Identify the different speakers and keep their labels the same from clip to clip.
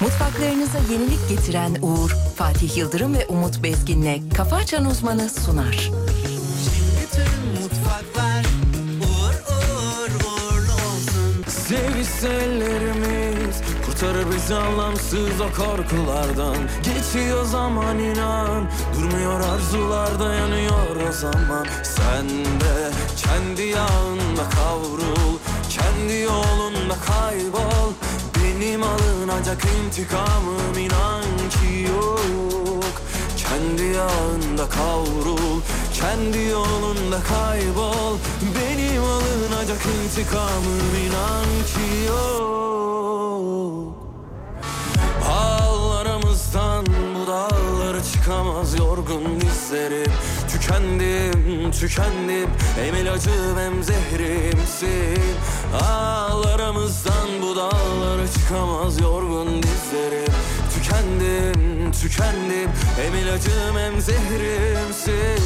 Speaker 1: Mutfaklarınıza yenilik getiren Uğur, Fatih Yıldırım ve Umut Bezgin'le Kafa Açan Uzmanı sunar.
Speaker 2: Bütün mutfaklar uğur uğur uğurlu olsun.
Speaker 3: Sevişsellerimiz kurtarır bizi anlamsız o korkulardan Geçiyor zaman inan durmuyor arzular dayanıyor o zaman Sen de kendi yağında kavrul kendi yolunda kaybol Benim alınacak intikamım inan ki yok kendi yağında kavrul Kendi yolunda kaybol Benim alınacak intikamım inan ki yok Al aramızdan bu dağlara çıkamaz yorgun dizlerim Tükendim, tükendim Hem ilacım hem zehrimsin Al aramızdan bu dağlara çıkamaz yorgun dizlerim Tükendim, tükendim Hem ilacım hem zehrimsin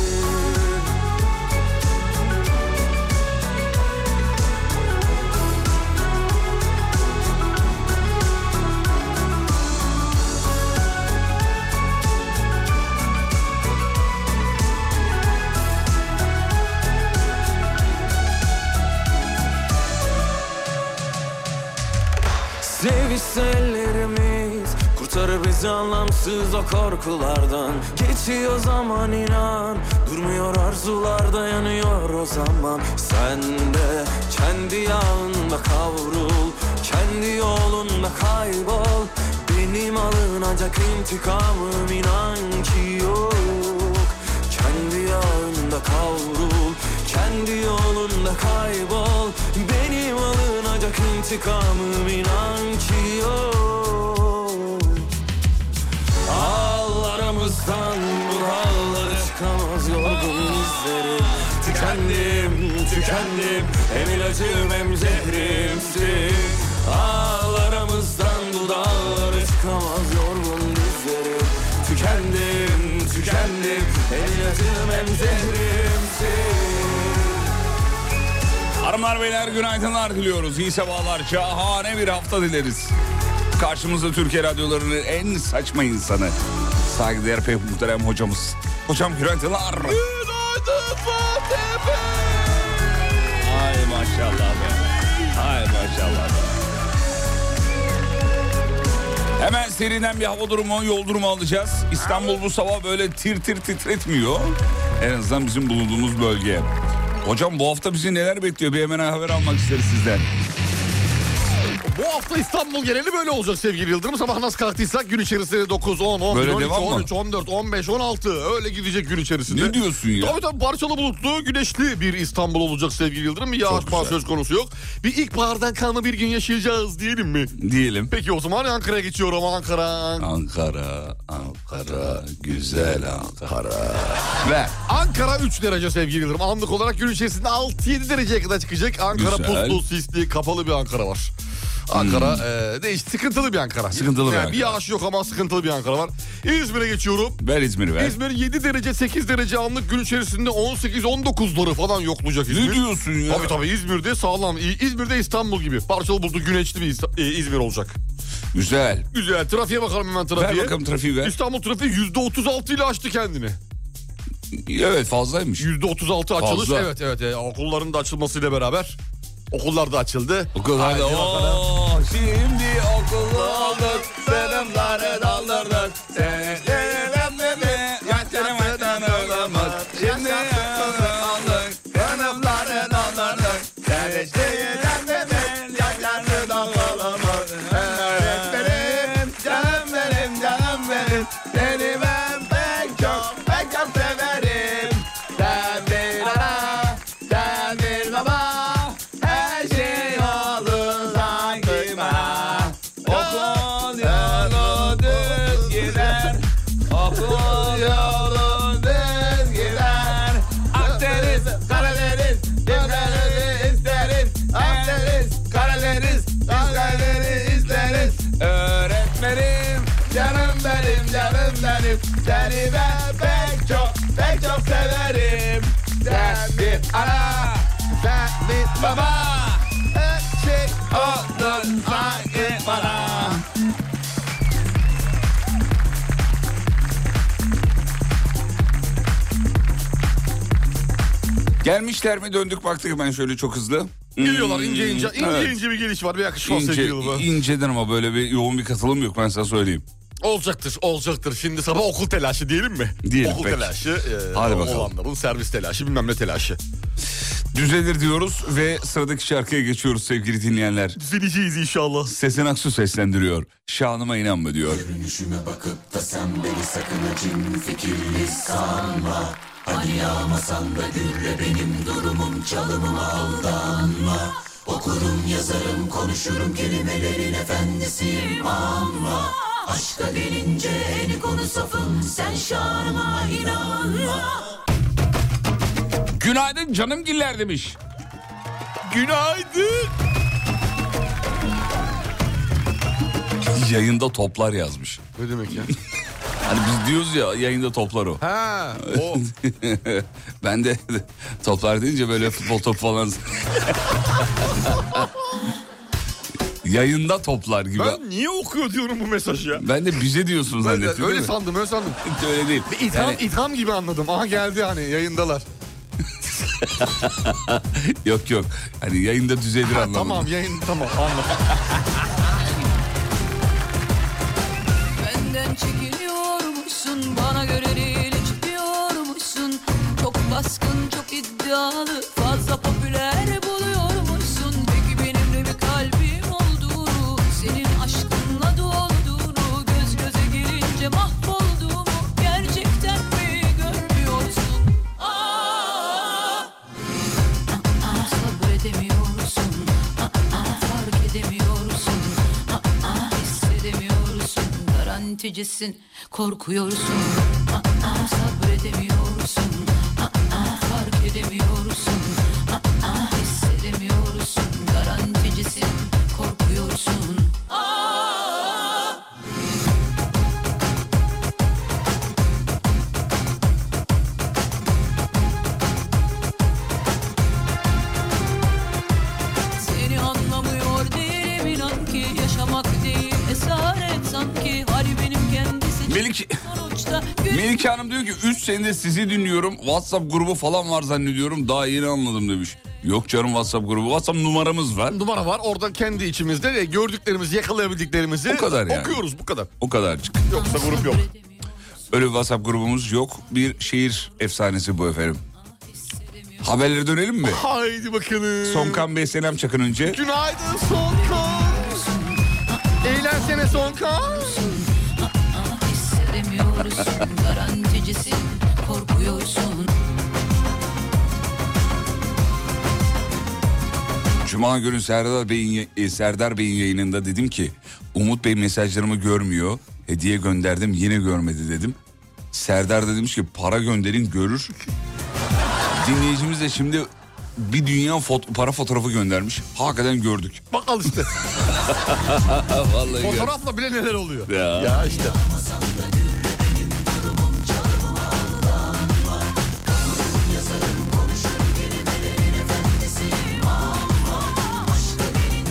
Speaker 3: Sevişsellerimiz kurtarır bizi anlamsız o korkulardan Geçiyor zaman inan durmuyor arzular dayanıyor o zaman Sen de kendi yağında kavrul kendi yolunda kaybol Benim alınacak intikamım inan ki yok kendi yağında kavrul Kendi yolunda kaybol Benim alınacak intikamım inan ki yok Al aramızdan bu dağlara çıkamaz yorgun izlerim Tükendim, tükendim Hem ilacım hem zehrimsin Al aramızdan bu dağlara çıkamaz yorgun izlerim Tükendim, tükendim Hem ilacım hem zehrimsin
Speaker 4: Hanımlar beyler günaydınlar diliyoruz. İyi sabahlar, şahane bir hafta dileriz. Karşımızda Türkiye radyolarının en saçma insanı. Saygıdeğer pek muhterem hocamız. Hocam günaydınlar. Ay maşallah be. Ay maşallah be. Hemen seriden bir hava durumu, yol durumu alacağız. İstanbul bu sabah böyle tir tir titretmiyor. En azından bizim bulunduğumuz bölge. Hocam bu hafta bizi neler bekliyor? Bir hemen haber almak isteriz sizden.
Speaker 5: Bu hafta İstanbul geneli böyle olacak sevgili Yıldırım. Sabah nasıl kalktıysak gün içerisinde 9, 10, 11,
Speaker 4: Böyle
Speaker 5: 12,
Speaker 4: devam mı?
Speaker 5: 13, 14, 15, 16 öyle gidecek gün içerisinde.
Speaker 4: Ne diyorsun ya?
Speaker 5: Tabii tabii parçalı bulutlu, güneşli bir İstanbul olacak sevgili Yıldırım. Bir yağış
Speaker 4: güzel.
Speaker 5: falan söz konusu yok. Bir ilkbahardan kalma bir gün yaşayacağız diyelim mi?
Speaker 4: Diyelim.
Speaker 5: Peki o zaman Ankara'ya geçiyorum Ankara.
Speaker 4: Ankara, Ankara, güzel Ankara. Ve
Speaker 5: Ankara 3 derece sevgili Yıldırım. Anlık olarak gün içerisinde 6-7 dereceye kadar çıkacak. Ankara
Speaker 4: Güzel.
Speaker 5: puslu, sisli, kapalı bir Ankara var. Ankara e, değiş, sıkıntılı bir Ankara.
Speaker 4: Hmm. Sıkıntılı bir
Speaker 5: yani
Speaker 4: Ankara.
Speaker 5: Bir yağış yok ama sıkıntılı bir Ankara var. İzmir'e geçiyorum.
Speaker 4: ver İzmir'i ver.
Speaker 5: İzmir 7 derece 8 derece anlık gün içerisinde 18-19'ları falan yoklayacak İzmir.
Speaker 4: Ne diyorsun ya?
Speaker 5: Tabii tabii İzmir'de sağlam. İ- İzmir'de İstanbul gibi. Parçalı bulutlu güneşli bir İsta- e, İzmir olacak.
Speaker 4: Güzel.
Speaker 5: Güzel. Trafiğe bakalım hemen trafiğe.
Speaker 4: Ver bakalım trafiği ver.
Speaker 5: İstanbul trafiği %36 ile açtı kendini.
Speaker 4: Evet fazlaymış.
Speaker 5: %36 açılış.
Speaker 4: Fazla.
Speaker 5: Evet evet. E, okulların da açılmasıyla beraber okullar da açıldı.
Speaker 4: Okul hadi.
Speaker 5: Haydi bakalım.
Speaker 4: Oo, Şimdi okulu olduk. Selamları daldırdık. Seni selamlarını yaşlamadan olamaz. Şimdi okulu olduk. Selamları daldırdık. Seni selamlarını yaşlamadan olamaz. Öğretmenim, canım benim, canım benim. Seni ben pek çok, pek çok severim. Sen bir ana, sen bir baba. Her şey olur sanki bana Okul yolu düz gider Okul yolu düz gider Akdeniz, Karadeniz Bizleri isteriz Akdeniz, Karadeniz Bizleri isteriz Öğretmenim Canım benim, canım benim Seni ben pek çok, pek çok severim Sen bir ara Sen bir baba Her şey olur sanki bana Gelmişler mi döndük baktık ben şöyle çok hızlı.
Speaker 5: Geliyorlar
Speaker 4: Hmm,
Speaker 5: ince ince. ince
Speaker 4: evet.
Speaker 5: ince bir geliş var. Bir yakışma var
Speaker 4: İnce,
Speaker 5: sevgili Yıldırım'a.
Speaker 4: inceden ama böyle bir yoğun bir katılım yok ben sana söyleyeyim.
Speaker 5: Olacaktır, olacaktır. Şimdi sabah okul telaşı diyelim mi?
Speaker 4: Diyelim,
Speaker 5: Okul
Speaker 4: peki.
Speaker 5: telaşı, e,
Speaker 4: Hadi bakalım.
Speaker 5: olanların servis telaşı, bilmem ne telaşı.
Speaker 4: Düzelir diyoruz ve sıradaki şarkıya geçiyoruz sevgili dinleyenler.
Speaker 5: Düzeleceğiz inşallah.
Speaker 4: Sezen Aksu seslendiriyor. Şanıma inanma diyor.
Speaker 6: Görünüşüme bakıp da sen beni sakın acın fikirli sanma Hani yağmasan da gülle benim durumum çalımıma aldanma Okurum yazarım konuşurum kelimelerin efendisiyim ama Aşka gelince en konu safım sen şanıma inanma
Speaker 4: Günaydın canım giller demiş.
Speaker 5: Günaydın.
Speaker 4: Yayında toplar yazmış.
Speaker 5: Ne demek ya?
Speaker 4: Hani biz diyoruz ya yayında toplar o.
Speaker 5: ha, o.
Speaker 4: ben de toplar deyince böyle futbol topu falan... yayında toplar gibi. Ben...
Speaker 5: Ben niye okuyor diyorum bu mesajı ya?
Speaker 4: de bize diyorsun
Speaker 5: Ben de
Speaker 4: zannettim.
Speaker 5: öyle
Speaker 4: değil mi?
Speaker 5: sandım, öyle sandım.
Speaker 4: öyle değil.
Speaker 5: İtham,
Speaker 4: Yani-
Speaker 5: itham gibi anladım. Aha geldi hani yayındalar.
Speaker 4: Yok yok. Hani yayında düzelir
Speaker 5: Ha,
Speaker 4: anlamında.
Speaker 5: tamam yayın tamam anladım.
Speaker 7: Benden çekiliyormuşsun Bana göre değil çıkıyormuşsun Çok baskın çok iddialı Fazla popüler buluyormuşsun Peki benimle bir kalbim olduğunu Senin aşkınla dolduğunu Göz göze gelince mahvolduğumu Gerçekten mi görmüyorsun Aa! Aa, sabredemiyorsun Aa, aa, fark edemiyorsun Aa, aa, hissedemiyorsun Garanticisin, korkuyorsun Aa, aa, sabredemiyorsun Aa, aa, fark edemiyorsun Aa, aa, hissedemiyorsun Garanticisin, korkuyorsun Aa! Seni anlamıyor değilim inan ki Yaşamak değil esaret sanki Hali benim kendisi
Speaker 4: Melike-
Speaker 7: Sonuçta
Speaker 4: Melike Hanım diyor ki 3 senedir sizi dinliyorum. WhatsApp grubu falan var zannediyorum. Daha yeni anladım demiş. Yok canım WhatsApp grubu. WhatsApp numaramız var.
Speaker 5: Numara var oradan kendi içimizde de gördüklerimizi yakalayabildiklerimizi
Speaker 4: Bu kadar yani.
Speaker 5: okuyoruz bu kadar.
Speaker 4: O kadarcık.
Speaker 5: Yoksa grup yok.
Speaker 4: Öyle bir WhatsApp grubumuz yok. Bir şehir efsanesi bu efendim. Haberlere dönelim mi?
Speaker 5: Haydi bakalım.
Speaker 4: Sonkan Bey selam çakın önce.
Speaker 5: Günaydın Sonkan. Eğlensene Sonkan.
Speaker 7: Hissedemiyorsun garanticisin korkuyorsun
Speaker 4: Cuma günü Serdar Bey'in e, Serdar Bey'in yayınında dedim ki Umut Bey mesajlarımı görmüyor. Hediye gönderdim yine görmedi dedim. Serdar da demiş ki para gönderin görür. Dinleyicimiz de şimdi bir dünya fot- para fotoğrafı göndermiş. Hakikaten gördük.
Speaker 5: Bak al işte.
Speaker 4: Vallahi
Speaker 5: Fotoğrafla bile neler oluyor.
Speaker 4: Ya.
Speaker 5: ya işte.
Speaker 7: Aa,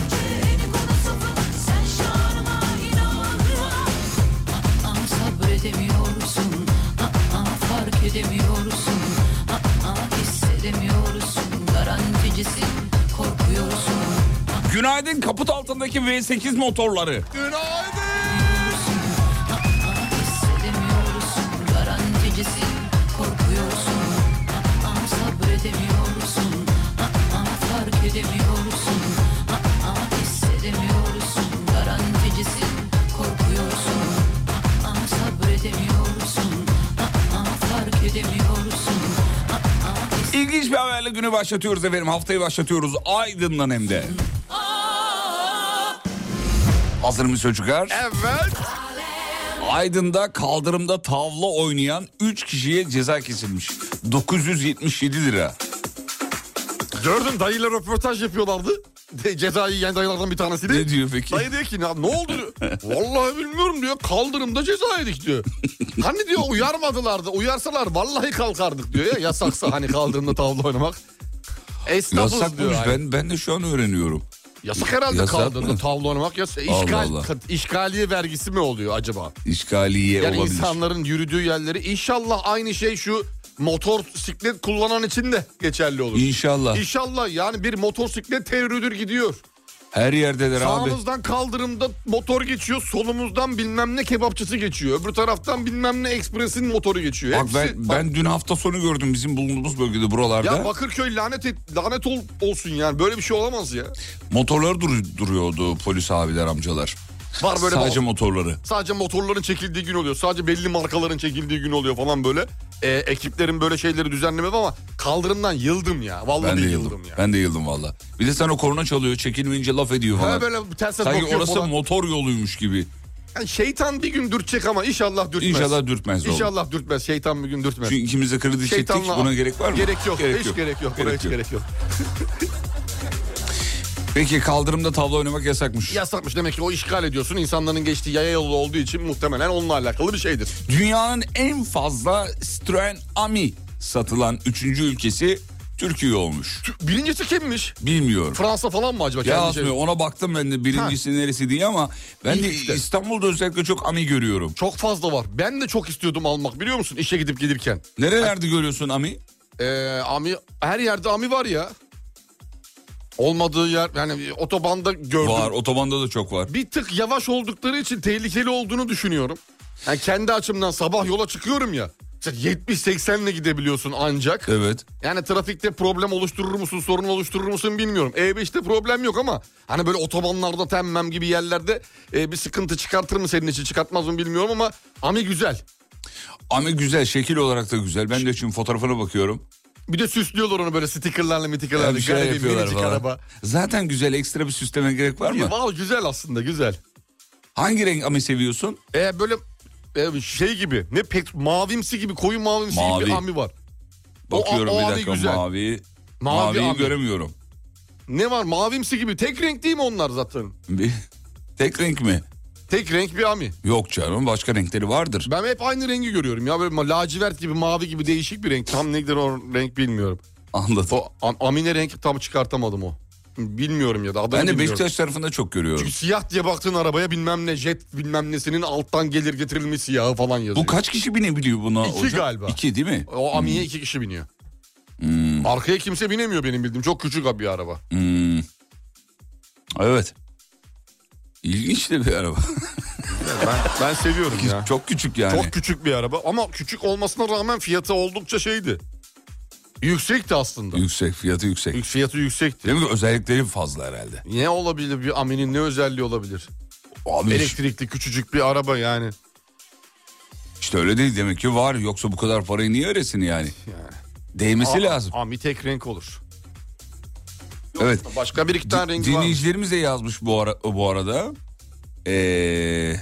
Speaker 7: Ah, sabredemiyorsun Aa, fark edemiyorsun Aa, hissedemiyorsun garanticisin korkuyorsun
Speaker 4: Günaydın kaput altındaki V8 motorları.
Speaker 5: Günaydın.
Speaker 7: Aa, hissedemiyorsun garanticisin korkuyorsun Aa, sabredemiyorsun Aa, fark edemiyorsun Aa, hissedemiyorsun garanticisin korkuyorsun Aa, sabredemiyorsun Aa, fark edemiyorsun
Speaker 4: İlginç bir haberle günü başlatıyoruz efendim. Haftayı başlatıyoruz Aydın'dan hem de. Hazır mı çocuklar?
Speaker 5: Evet.
Speaker 4: Aydın'da kaldırımda tavla oynayan 3 kişiye ceza kesilmiş. 977 lira.
Speaker 5: Gördün dayıyla röportaj yapıyorlardı. De, cezayı yiyen dayılardan bir tanesiydi.
Speaker 4: Ne diyor peki?
Speaker 5: Dayı diyor ki "Ya ne oldu? diyor. vallahi bilmiyorum diyor. Kaldırımda ceza yedik diyor. Hani diyor uyarmadılar da uyarsalar vallahi kalkardık diyor ya. Yasaksa hani kaldırımda tavla oynamak. Esnafız diyor.
Speaker 4: Yasakmış
Speaker 5: hani.
Speaker 4: ben ben de şu an öğreniyorum.
Speaker 5: Yasak herhalde
Speaker 4: Yasak
Speaker 5: kaldırımda
Speaker 4: mı?
Speaker 5: tavla oynamak. Yas
Speaker 4: Allah
Speaker 5: işgal,
Speaker 4: Allah.
Speaker 5: işgaliye vergisi mi oluyor acaba?
Speaker 4: İşgaliye
Speaker 5: Yani
Speaker 4: E, olabilir.
Speaker 5: insanların yürüdüğü yerleri inşallah aynı şey şu motor siklet kullanan için de geçerli olur.
Speaker 4: İnşallah.
Speaker 5: İnşallah yani bir motosiklet tevrüdür gidiyor.
Speaker 4: Her yerdedir abi.
Speaker 5: Sağımızdan kaldırımda motor geçiyor, solumuzdan bilmem ne kebapçısı geçiyor. Öbür taraftan bilmem ne ekspresin motoru geçiyor.
Speaker 4: Bak
Speaker 5: Hepsi-
Speaker 4: ben, ben dün hafta sonu gördüm bizim bulunduğumuz bölgede buralarda.
Speaker 5: Ya Bakırköy lanet et- lanet ol, olsun yani böyle bir şey olamaz ya.
Speaker 4: Motorlar dur- duruyordu polis abiler amcalar.
Speaker 5: Var böyle
Speaker 4: Sadece
Speaker 5: bak-
Speaker 4: motorları.
Speaker 5: Sadece motorların çekildiği gün oluyor. Sadece belli markaların çekildiği gün oluyor falan böyle. Ee, ekiplerin böyle şeyleri düzenlemedi ama kaldırımdan yıldım ya. Vallahi
Speaker 4: Ben de
Speaker 5: yıldım,
Speaker 4: yıldım.
Speaker 5: ya.
Speaker 4: Ben de yıldım valla. Bir de sana korna çalıyor çekilmeyince laf ediyor
Speaker 5: Ha,
Speaker 4: falan.
Speaker 5: böyle ters ters
Speaker 4: Sanki
Speaker 5: bakıyor
Speaker 4: orası
Speaker 5: falan.
Speaker 4: motor yoluymuş gibi.
Speaker 5: Yani şeytan bir gün dürtecek ama inşallah dürtmez.
Speaker 4: İnşallah dürtmez oğlum.
Speaker 5: İnşallah dürtmez. Şeytan bir gün dürtmez.
Speaker 4: Çünkü ikimiz de kredi çektik. şey Buna gerek var mı?
Speaker 5: Gerek yok. hiç gerek yok. Gerek hiç gerek yok.
Speaker 4: Peki kaldırımda tavla oynamak yasakmış.
Speaker 5: Yasakmış demek ki o işgal ediyorsun. İnsanların geçtiği yaya yolu olduğu için muhtemelen onunla alakalı bir şeydir.
Speaker 4: Dünyanın en fazla Citroen Ami satılan üçüncü ülkesi Türkiye olmuş.
Speaker 5: Birincisi kimmiş?
Speaker 4: Bilmiyorum.
Speaker 5: Fransa falan mı acaba?
Speaker 4: Ya
Speaker 5: Kendi
Speaker 4: aslında
Speaker 5: şey-
Speaker 4: ona baktım ben de birincisi neresi diye ama ben de
Speaker 5: İlk işte.
Speaker 4: İstanbul'da özellikle çok Ami görüyorum.
Speaker 5: Çok fazla var. Ben de çok istiyordum almak biliyor musun? İşe gidip gelirken.
Speaker 4: Nerelerde görüyorsun Ami?
Speaker 5: Ee, ami her yerde ami var ya. Olmadığı yer yani otobanda gördüm.
Speaker 4: Var otobanda da çok var.
Speaker 5: Bir tık yavaş oldukları için tehlikeli olduğunu düşünüyorum. Yani kendi açımdan sabah yola çıkıyorum ya. işte 70-80 ile gidebiliyorsun ancak.
Speaker 4: Evet.
Speaker 5: Yani trafikte problem oluşturur musun, sorun oluşturur musun bilmiyorum. E5'te problem yok ama hani böyle otobanlarda temmem gibi yerlerde e, bir sıkıntı çıkartır mı senin için çıkartmaz mı bilmiyorum ama ami güzel.
Speaker 4: Ami güzel şekil olarak da güzel. Ben de şimdi fotoğrafına bakıyorum.
Speaker 5: Bir de süslüyorlar onu böyle stikerlerle mitikerlerle.
Speaker 4: Yani bir şeyler
Speaker 5: Garip
Speaker 4: yapıyorlar
Speaker 5: minicik
Speaker 4: falan.
Speaker 5: araba.
Speaker 4: Zaten güzel ekstra bir süsleme gerek var mı?
Speaker 5: Vallahi güzel aslında güzel.
Speaker 4: Hangi renk Ami seviyorsun?
Speaker 5: E böyle e, şey gibi ne pek mavimsi gibi koyu mavimsi gibi
Speaker 4: Mavi.
Speaker 5: bir ami var. O-
Speaker 4: Bakıyorum
Speaker 5: o
Speaker 4: bir
Speaker 5: abi
Speaker 4: dakika
Speaker 5: güzel.
Speaker 4: mavi.
Speaker 5: Mavi
Speaker 4: Maviyi
Speaker 5: abi.
Speaker 4: göremiyorum.
Speaker 5: Ne var mavimsi gibi tek renk değil mi onlar zaten?
Speaker 4: Bir- Tek renk mi?
Speaker 5: Tek renk bir ami.
Speaker 4: Yok canım başka renkleri vardır.
Speaker 5: Ben hep aynı rengi görüyorum ya böyle ma- lacivert gibi mavi gibi değişik bir renk. Tam nedir o renk bilmiyorum.
Speaker 4: Anladım.
Speaker 5: O am- amine renk tam çıkartamadım o. Bilmiyorum ya da adını
Speaker 4: Ben de
Speaker 5: bilmiyorum.
Speaker 4: Beşiktaş tarafında çok görüyorum.
Speaker 5: Çünkü siyah diye baktığın arabaya bilmem ne jet bilmem nesinin alttan gelir getirilmiş siyahı falan yazıyor.
Speaker 4: Bu Hmm. kaç kişi binebiliyor buna
Speaker 5: İki
Speaker 4: hocam?
Speaker 5: galiba.
Speaker 4: İki değil mi?
Speaker 5: O Ami'ye iki kişi biniyor. Arkaya kimse binemiyor benim bildiğim. Çok küçük bir araba.
Speaker 4: Hmm. Evet. İlginç de bir araba.
Speaker 5: Ben, ben seviyorum ya.
Speaker 4: Çok küçük yani.
Speaker 5: Çok küçük bir araba ama küçük olmasına rağmen fiyatı oldukça şeydi. Yüksekti aslında.
Speaker 4: Yüksek fiyatı yüksek.
Speaker 5: Yük- Fiyatı yüksekti.
Speaker 4: Değil mi? Özellikleri fazla herhalde.
Speaker 5: Ne olabilir bir Ami'nin ne özelliği olabilir?
Speaker 4: Abi
Speaker 5: Elektrikli küçücük bir araba yani.
Speaker 4: işte öyle değil demek ki var. Yoksa bu kadar parayı niye öresin yani? Değmesi
Speaker 5: Aa,
Speaker 4: şey lazım.
Speaker 5: Ami tek renk olur.
Speaker 4: evet.
Speaker 5: Başka bir iki tane rengi var. mı?
Speaker 4: Dinleyicilerimiz de yazmış bu, ara, bu arada. Ee,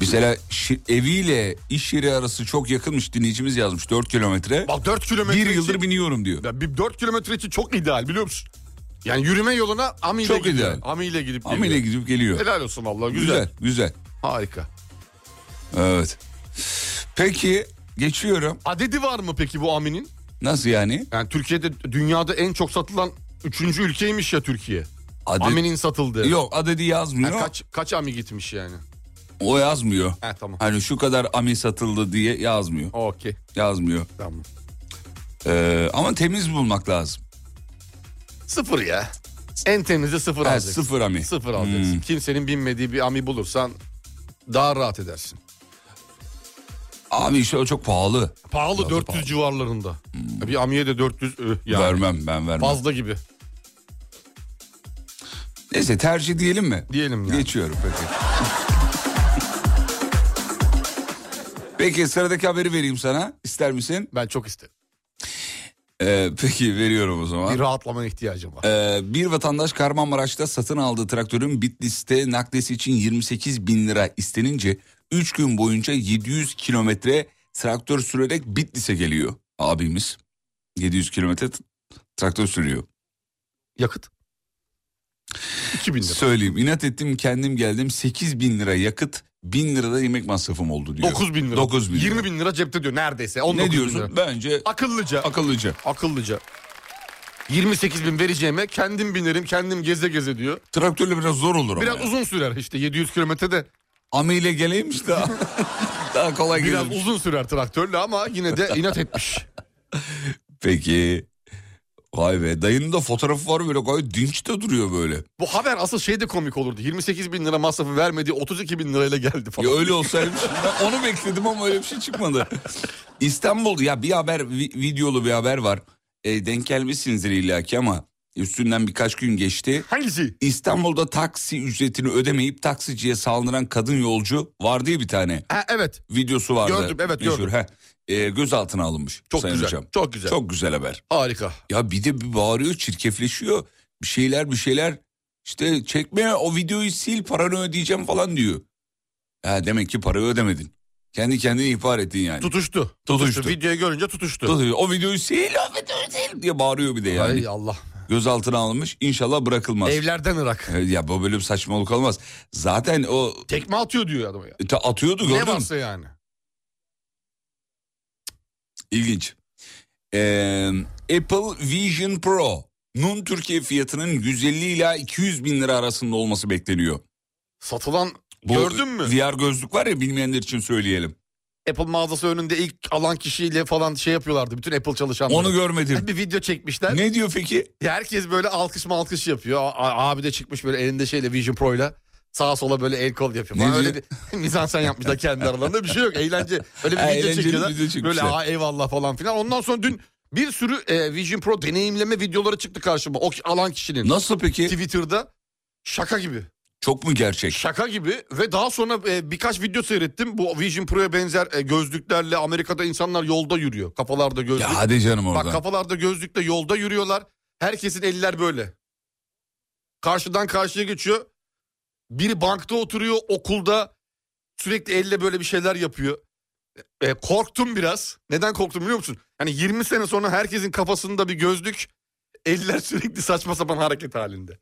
Speaker 4: mesela şi- eviyle iş yeri arası çok yakınmış dinleyicimiz yazmış 4 kilometre.
Speaker 5: Bak 4 kilometre
Speaker 4: Bir
Speaker 5: için-
Speaker 4: yıldır biniyorum diyor.
Speaker 5: Ya bir 4 kilometre için çok ideal biliyor musun? Yani yürüme yoluna Ami ile
Speaker 4: Çok
Speaker 5: gidiyor.
Speaker 4: ideal.
Speaker 5: Ami ile gidip geliyor.
Speaker 4: Amele gidip geliyor.
Speaker 5: Helal olsun vallahi güzel.
Speaker 4: Güzel, güzel.
Speaker 5: Harika.
Speaker 4: Evet. Peki geçiyorum.
Speaker 5: Adedi var mı peki bu Amin'in?
Speaker 4: Nasıl yani?
Speaker 5: Yani Türkiye'de dünyada en çok satılan 3. ülkeymiş ya Türkiye.
Speaker 4: Adet-
Speaker 5: Amin'in satıldığı.
Speaker 4: Yok adedi yazmıyor.
Speaker 5: Ha, kaç kaç Ami gitmiş yani?
Speaker 4: O yazmıyor.
Speaker 5: Ha tamam.
Speaker 4: Hani şu kadar ami satıldı diye yazmıyor.
Speaker 5: Okey.
Speaker 4: Yazmıyor.
Speaker 5: Tamam.
Speaker 4: Ee, ama temiz bulmak lazım.
Speaker 5: Sıfır ya. En temizi sıfır
Speaker 4: Ha,
Speaker 5: alacaksın.
Speaker 4: sıfır ami.
Speaker 5: Sıfır alacaksın.
Speaker 4: Hmm.
Speaker 5: Kimsenin binmediği bir Ami bulursan daha rahat edersin.
Speaker 4: Abi işte o çok pahalı.
Speaker 5: Pahalı
Speaker 4: Tabii
Speaker 5: 400
Speaker 4: pahalı. Hmm.
Speaker 5: civarlarında. Bir Ami'ye de 400 üh, yani.
Speaker 4: Vermem ben vermem.
Speaker 5: Fazla gibi
Speaker 4: Neyse tercih diyelim mi?
Speaker 5: diyelim yani.
Speaker 4: Geçiyorum peki. peki sıradaki haberi vereyim sana. İster misin?
Speaker 5: Ben çok isterim.
Speaker 4: Ee, peki veriyorum o zaman.
Speaker 5: Bir rahatlamaya ihtiyacım var.
Speaker 4: Ee, bir vatandaş Kahramanmaraş'ta satın aldığı traktörün Bitlis'te naklesi için 28 bin lira istenince 3 gün boyunca 700 kilometre traktör sürerek Bitlis'e geliyor abimiz. 700 kilometre t- traktör sürüyor.
Speaker 5: Yakıt. 2000 lira.
Speaker 4: Söyleyeyim inat ettim kendim geldim 8 bin lira yakıt 1000 lira da yemek masrafım oldu diyor.
Speaker 5: 9 bin lira.
Speaker 4: 9 bin
Speaker 5: 20
Speaker 4: lira.
Speaker 5: bin lira cepte diyor neredeyse. 19
Speaker 4: Ne
Speaker 5: Bin lira.
Speaker 4: diyorsun? Bence
Speaker 5: Akıllıca.
Speaker 4: akıllıca.
Speaker 5: akıllıca. 28 bin vereceğime kendim binerim kendim geze geze diyor.
Speaker 4: Traktörle biraz zor olur ama.
Speaker 5: Biraz
Speaker 4: ya.
Speaker 5: uzun sürer işte 700 kilometrede.
Speaker 4: Amiyle geleymiş de Daha kolay
Speaker 5: Biraz
Speaker 4: gelirmiş.
Speaker 5: uzun sürer traktörle ama yine de inat etmiş.
Speaker 4: Peki. Vay be dayının da fotoğrafı var böyle gayet dinç de duruyor böyle.
Speaker 5: Bu haber asıl şey de komik olurdu. 28 bin lira masrafı vermedi 32 bin lirayla geldi falan.
Speaker 4: Ya öyle olsaymış ben onu bekledim ama öyle bir şey çıkmadı. İstanbul'da ya bir haber vi- videolu bir haber var. E, denk gelmişsinizdir illaki ama üstünden birkaç gün geçti.
Speaker 5: Hangisi?
Speaker 4: İstanbul'da taksi ücretini ödemeyip taksiciye saldıran kadın yolcu var diye bir tane
Speaker 5: Ha, evet.
Speaker 4: videosu vardı.
Speaker 5: Gördüm, evet, gördüm.
Speaker 4: Heh. E, gözaltına alınmış.
Speaker 5: Çok
Speaker 4: Sayın
Speaker 5: güzel.
Speaker 4: Hocam.
Speaker 5: Çok güzel.
Speaker 4: Çok güzel haber.
Speaker 5: Harika.
Speaker 4: Ya bir de bir bağırıyor çirkefleşiyor. Bir şeyler bir şeyler. İşte çekme o videoyu sil paranı ödeyeceğim falan diyor. Ha demek ki parayı ödemedin. Kendi kendini ihbar ettin yani.
Speaker 5: Tutuştu.
Speaker 4: Tutuştu.
Speaker 5: Videoyu görünce tutuştu.
Speaker 4: Tutuyor. O videoyu sil o videoyu sil diye bağırıyor bir de yani.
Speaker 5: Ay Allah.
Speaker 4: Gözaltına alınmış inşallah bırakılmaz.
Speaker 5: Evlerden Irak.
Speaker 4: E, Ya bu böyle bir saçmalık olmaz. Zaten o
Speaker 5: Tekme atıyor diyor adama ya.
Speaker 4: ta- atıyordu
Speaker 5: Ne
Speaker 4: gördün mü?
Speaker 5: varsa yani.
Speaker 4: İlginç. Ee, Apple Vision Pro'nun Türkiye fiyatının 150 ila 200 bin lira arasında olması bekleniyor.
Speaker 5: Satılan
Speaker 4: Bu
Speaker 5: gördün mü?
Speaker 4: VR gözlük var ya bilmeyenler için söyleyelim.
Speaker 5: Apple mağazası önünde ilk alan kişiyle falan şey yapıyorlardı. Bütün Apple çalışanları.
Speaker 4: Onu görmedim.
Speaker 5: bir video çekmişler.
Speaker 4: ne diyor peki?
Speaker 5: Herkes böyle alkış malkış yapıyor. A- a- abi de çıkmış böyle elinde şeyle Vision Pro'yla. Sağa sola böyle el kol yapıyor.
Speaker 4: Ne
Speaker 5: falan. öyle
Speaker 4: diyor?
Speaker 5: bir mizansen yapmışlar kendi aralarında. Bir şey yok. Eğlence. Öyle bir
Speaker 4: Ha,
Speaker 5: video
Speaker 4: eğlenceli
Speaker 5: çekiyorlar.
Speaker 4: video çekmişler.
Speaker 5: böyle aa eyvallah falan filan. Ondan sonra dün bir sürü e, Vision Pro deneyimleme videoları çıktı karşıma. O ki- alan kişinin.
Speaker 4: Nasıl peki?
Speaker 5: Twitter'da şaka gibi.
Speaker 4: Çok mu gerçek?
Speaker 5: Şaka gibi ve daha sonra e, birkaç video seyrettim. Bu Vision Pro'ya benzer e, gözlüklerle Amerika'da insanlar yolda yürüyor. Kafalarda gözlük.
Speaker 4: Ya hadi canım
Speaker 5: Bak
Speaker 4: oradan.
Speaker 5: kafalarda gözlükle yolda yürüyorlar. Herkesin eller böyle. Karşıdan karşıya geçiyor. Biri bankta oturuyor, okulda sürekli elle böyle bir şeyler yapıyor. E, korktum biraz. Neden korktum biliyor musun? Hani 20 sene sonra herkesin kafasında bir gözlük, eller sürekli saçma sapan hareket halinde.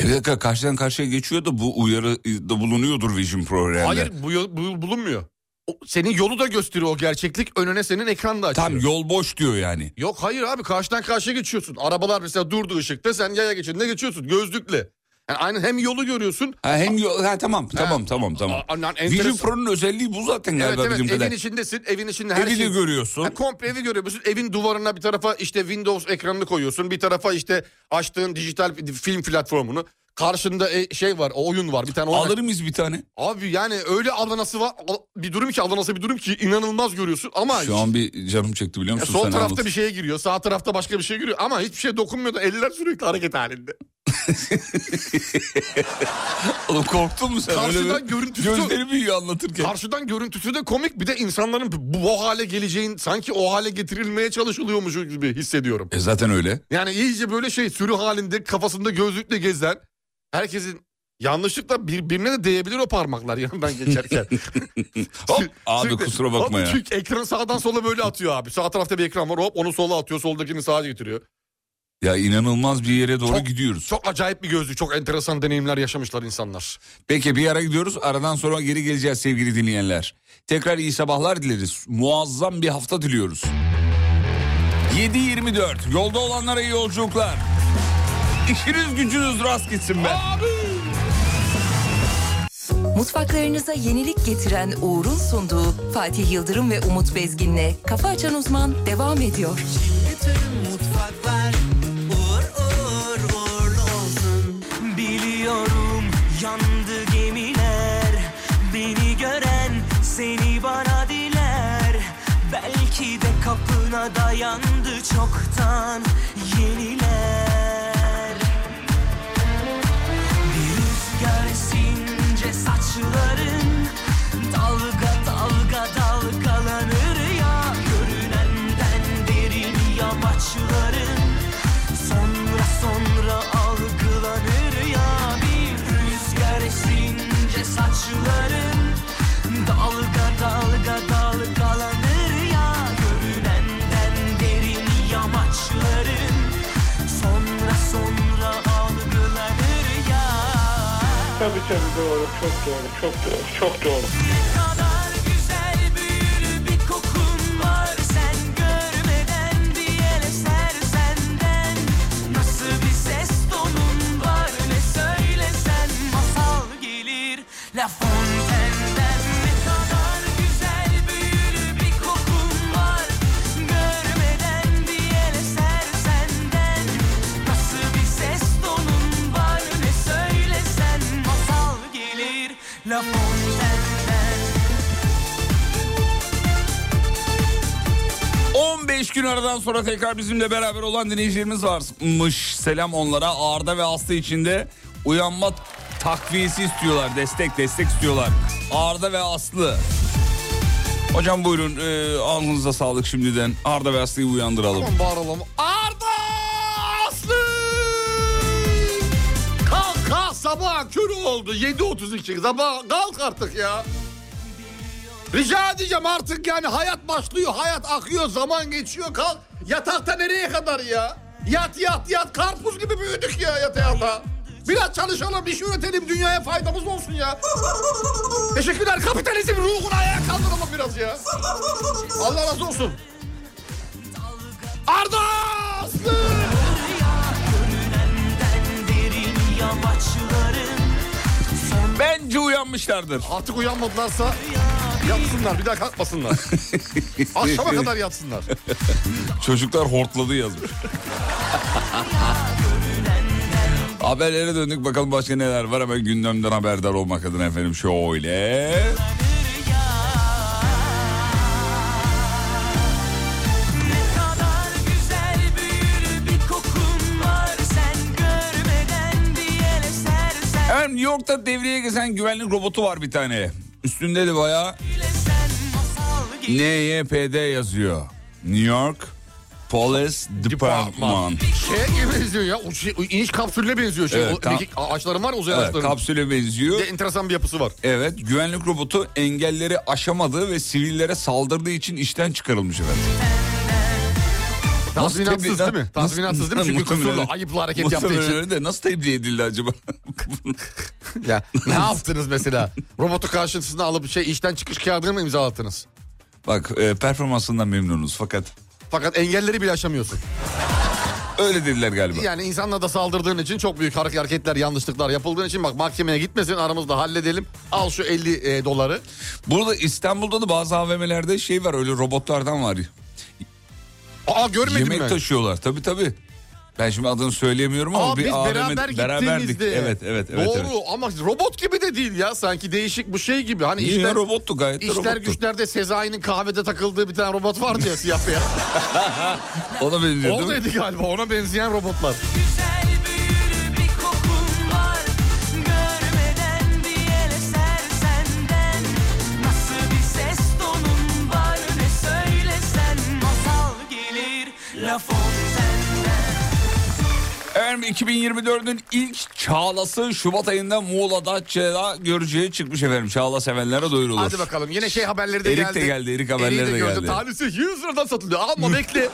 Speaker 4: E bir dakika karşıdan karşıya geçiyor da bu uyarı da bulunuyordur Vision Pro herhalde.
Speaker 5: Hayır bu, yo- bu bulunmuyor. O- senin yolu da gösteriyor o gerçeklik. Önüne senin ekran da açıyor.
Speaker 4: Tam yol boş diyor yani.
Speaker 5: Yok hayır abi karşıdan karşıya geçiyorsun. Arabalar mesela durdu ışıkta sen yaya geçiyorsun. Ne geçiyorsun? Gözlükle. Yani aynı hem yolu görüyorsun.
Speaker 4: Ha, hem yol, ha, tamam, tamam tamam tamam
Speaker 5: Aa, lan
Speaker 4: Vision
Speaker 5: enteresan.
Speaker 4: Pro'nun özelliği bu zaten
Speaker 5: Evet
Speaker 4: galiba
Speaker 5: evet
Speaker 4: bizim
Speaker 5: evin
Speaker 4: kadar.
Speaker 5: içindesin. Evin içinde her
Speaker 4: Evini
Speaker 5: şey.
Speaker 4: görüyorsun.
Speaker 5: Ha, komple evi görüyorsun. Evin duvarına bir tarafa işte Windows ekranını koyuyorsun. Bir tarafa işte açtığın dijital film platformunu. Karşında e, şey var, o oyun var. Bir tane oyun.
Speaker 4: Alır mıyız bir tane?
Speaker 5: Abi yani öyle adanası var. Bir durum ki adanası bir durum ki inanılmaz görüyorsun ama
Speaker 4: Şu an bir canım çekti biliyor
Speaker 5: Ya
Speaker 4: musun?
Speaker 5: sol
Speaker 4: Sen
Speaker 5: tarafta
Speaker 4: anlat.
Speaker 5: bir şeye giriyor, sağ tarafta başka bir şeye giriyor ama hiçbir şey dokunmuyor da eller sürekli hareket halinde.
Speaker 4: Oğlum korktun mu sen?
Speaker 5: şey- Karşıdan
Speaker 4: Öyle bir-
Speaker 5: görüntüsü-
Speaker 4: Gözleri büyüyor anlatırken.
Speaker 5: Karşıdan görüntüsü de komik bir de insanların bu bu hale geleceğin sanki o hale getirilmeye çalışılıyormuş gibi hissediyorum.
Speaker 4: E zaten öyle.
Speaker 5: Yani iyice böyle şey sürü halinde kafasında gözlükle gezen herkesin yanlışlıkla birbirine de değebilir o parmaklar yanından geçerken.
Speaker 4: Hop, abi
Speaker 5: Sürekli-
Speaker 4: kusura bakma ya.
Speaker 5: Hop, çünkü ekranı sağdan sola böyle atıyor abi. Sağ tarafta bir ekran var hop onu sola atıyor soldakini sağa getiriyor.
Speaker 4: Ya inanılmaz bir yere doğru
Speaker 5: Çok-
Speaker 4: gidiyoruz.
Speaker 5: Çok acayip bir gözlük çok enteresan deneyimler yaşamışlar insanlar.
Speaker 4: Peki bir ara gidiyoruz. Aradan sonra geri geleceğiz sevgili dinleyenler. Tekrar iyi sabahlar dileriz. Muazzam bir hafta diliyoruz. 7.24 yolda olanlara iyi yolculuklar. İşiniz gücünüz rast gitsin be.
Speaker 1: Mutfaklarınıza yenilik getiren Uğur'un sunduğu Fatih Yıldırım ve Umut Bezgin'le Kafa Açan Uzman devam ediyor.
Speaker 2: Bütün mutfaklar uğur uğur uğurlu olsun.
Speaker 6: Biliyorum yandı gemiler Beni gören seni bana diler Belki de kapına dayandı çoktan yeniler Bir rüzgar esince saçların Dalga dalga dalgalanır ya Görünenden derin yamaçların Sonra sonra algılanır ya bir rüzgar esince saçların Dalga dalga dalgalanır ya Görünenden derin yamaçların Sonra sonra algılanır ya
Speaker 8: Tabii tabii doğru, çok doğru, çok doğru, çok doğru.
Speaker 6: ne kadar güzel büyülü bir kokun var sen görmeden bir el eser senden nasıl bir ses tonun var ne söylesen masal gelir La Fontaine'den ne kadar güzel La Fontaine'den
Speaker 4: 15 gün aradan sonra tekrar bizimle beraber olan dinleyicilerimiz varmış. Selam onlara. Arda ve Aslı için de uyanma takviyesi istiyorlar. Destek destek istiyorlar. Arda ve Aslı. Hocam buyurun e, ağzınıza sağlık şimdiden. Arda ve Aslı'yı uyandıralım.
Speaker 5: Tamam bağıralım. Arda Aslı! Kalk kalk sabah körü oldu 7.32 sabah kalk artık ya. Rica edeceğim artık yani hayat başlıyor hayat akıyor zaman geçiyor kalk. Yatakta nereye kadar ya? Yat yat yat karpuz gibi büyüdük ya yata yata. Biraz çalışalım iş üretelim dünyaya faydamız olsun ya. Teşekkürler kapitalizm ruhunu ayağa kaldıralım biraz ya. Allah razı olsun. Arda Aslı!
Speaker 6: derin yamaçların
Speaker 4: Bence uyanmışlardır.
Speaker 5: Artık uyanmadılarsa yatsınlar bir daha kalkmasınlar. Akşama kadar yatsınlar.
Speaker 4: Çocuklar hortladı yazmış. Haberlere döndük bakalım başka neler var hemen gündemden haberdar olmak adına efendim şöyle.
Speaker 6: Ne kadar güzel büyür bir kokun var sen görmeden bir el eser sen
Speaker 4: Efendim New York'ta devreye gezen güvenlik robotu var bir tane. Üstünde de bayağı
Speaker 6: bile sen masal gibi
Speaker 4: NYPD yazıyor. New York Police Department.
Speaker 5: Şeye Şey gibi benziyor ya. O şey, o iniş kapsülüne benziyor. Şey,
Speaker 4: Evet,
Speaker 5: o,
Speaker 4: tam-
Speaker 5: mekik- ağaçların var ya uzay
Speaker 4: Evet,
Speaker 5: ağaçların.
Speaker 4: kapsüle
Speaker 5: Bir
Speaker 4: benziyor.
Speaker 5: de enteresan bir yapısı var.
Speaker 4: Evet güvenlik robotu engelleri aşamadığı ve sivillere saldırdığı için işten çıkarılmış efendim. Nasıl
Speaker 5: Tazminatsız
Speaker 4: tebliğ-
Speaker 5: değil mi?
Speaker 4: Nasıl-
Speaker 5: Tazminatsız değil mi? Çünkü
Speaker 4: Muhtemelen.
Speaker 5: kusurlu, ayıplı hareket
Speaker 4: Muhtemelen
Speaker 5: yaptığı için.
Speaker 4: öyle de nasıl tebliğ edildi acaba?
Speaker 5: Ya, ne yaptınız mesela? Robotu karşısına alıp şey işten çıkış kağıdını mı imzalattınız?
Speaker 4: Bak e, performansından memnunuz fakat
Speaker 5: Fakat engelleri bile aşamıyorsun.
Speaker 4: öyle dediler galiba.
Speaker 5: Yani insanla da saldırdığın için çok büyük hare- hareketler, yanlışlıklar yapıldığın için bak mahkemeye gitmesin aramızda halledelim. Al şu 50 e, doları.
Speaker 4: Burada İstanbul'da da bazı AVM'lerde şey var öyle robotlardan var.
Speaker 5: Aa görmedim
Speaker 4: Yemek
Speaker 5: ben.
Speaker 4: taşıyorlar tabii tabii. Ben şimdi adını söyleyemiyorum ama
Speaker 5: Aa,
Speaker 4: bir
Speaker 5: biz
Speaker 4: AVM
Speaker 5: beraber
Speaker 4: beraberdik.
Speaker 5: gittiğimizde.
Speaker 4: Evet evet evet.
Speaker 5: Doğru
Speaker 4: evet.
Speaker 5: ama robot gibi de değil ya. Sanki değişik bu şey gibi. Hani
Speaker 4: Niye
Speaker 5: işler,
Speaker 4: robottu gayet de
Speaker 5: işler
Speaker 4: robottu.
Speaker 5: güçlerde Sezai'nin kahvede takıldığı bir tane robot vardı ya siyah beyaz.
Speaker 4: Ona benziyor değil mi?
Speaker 5: Oradaydı galiba ona benzeyen robotlar.
Speaker 6: güzel büyür bir kokun var görmeden bir el eser senden nasıl bir ses tonun var ne söylesen masal gelir La Fontaine'den
Speaker 4: Efendim 2024'ün ilk Çağlası Şubat ayında Muğla'da Çela Görücü'ye çıkmış efendim. Çağla sevenlere duyurulur.
Speaker 5: Hadi bakalım yine şey haberleri de
Speaker 4: Erik
Speaker 5: geldi.
Speaker 4: de geldi, Erik haberleri
Speaker 5: Erik'i
Speaker 4: de
Speaker 5: gördüm.
Speaker 4: geldi.
Speaker 5: Tanesi 100 liradan satılıyor. Alma bekle.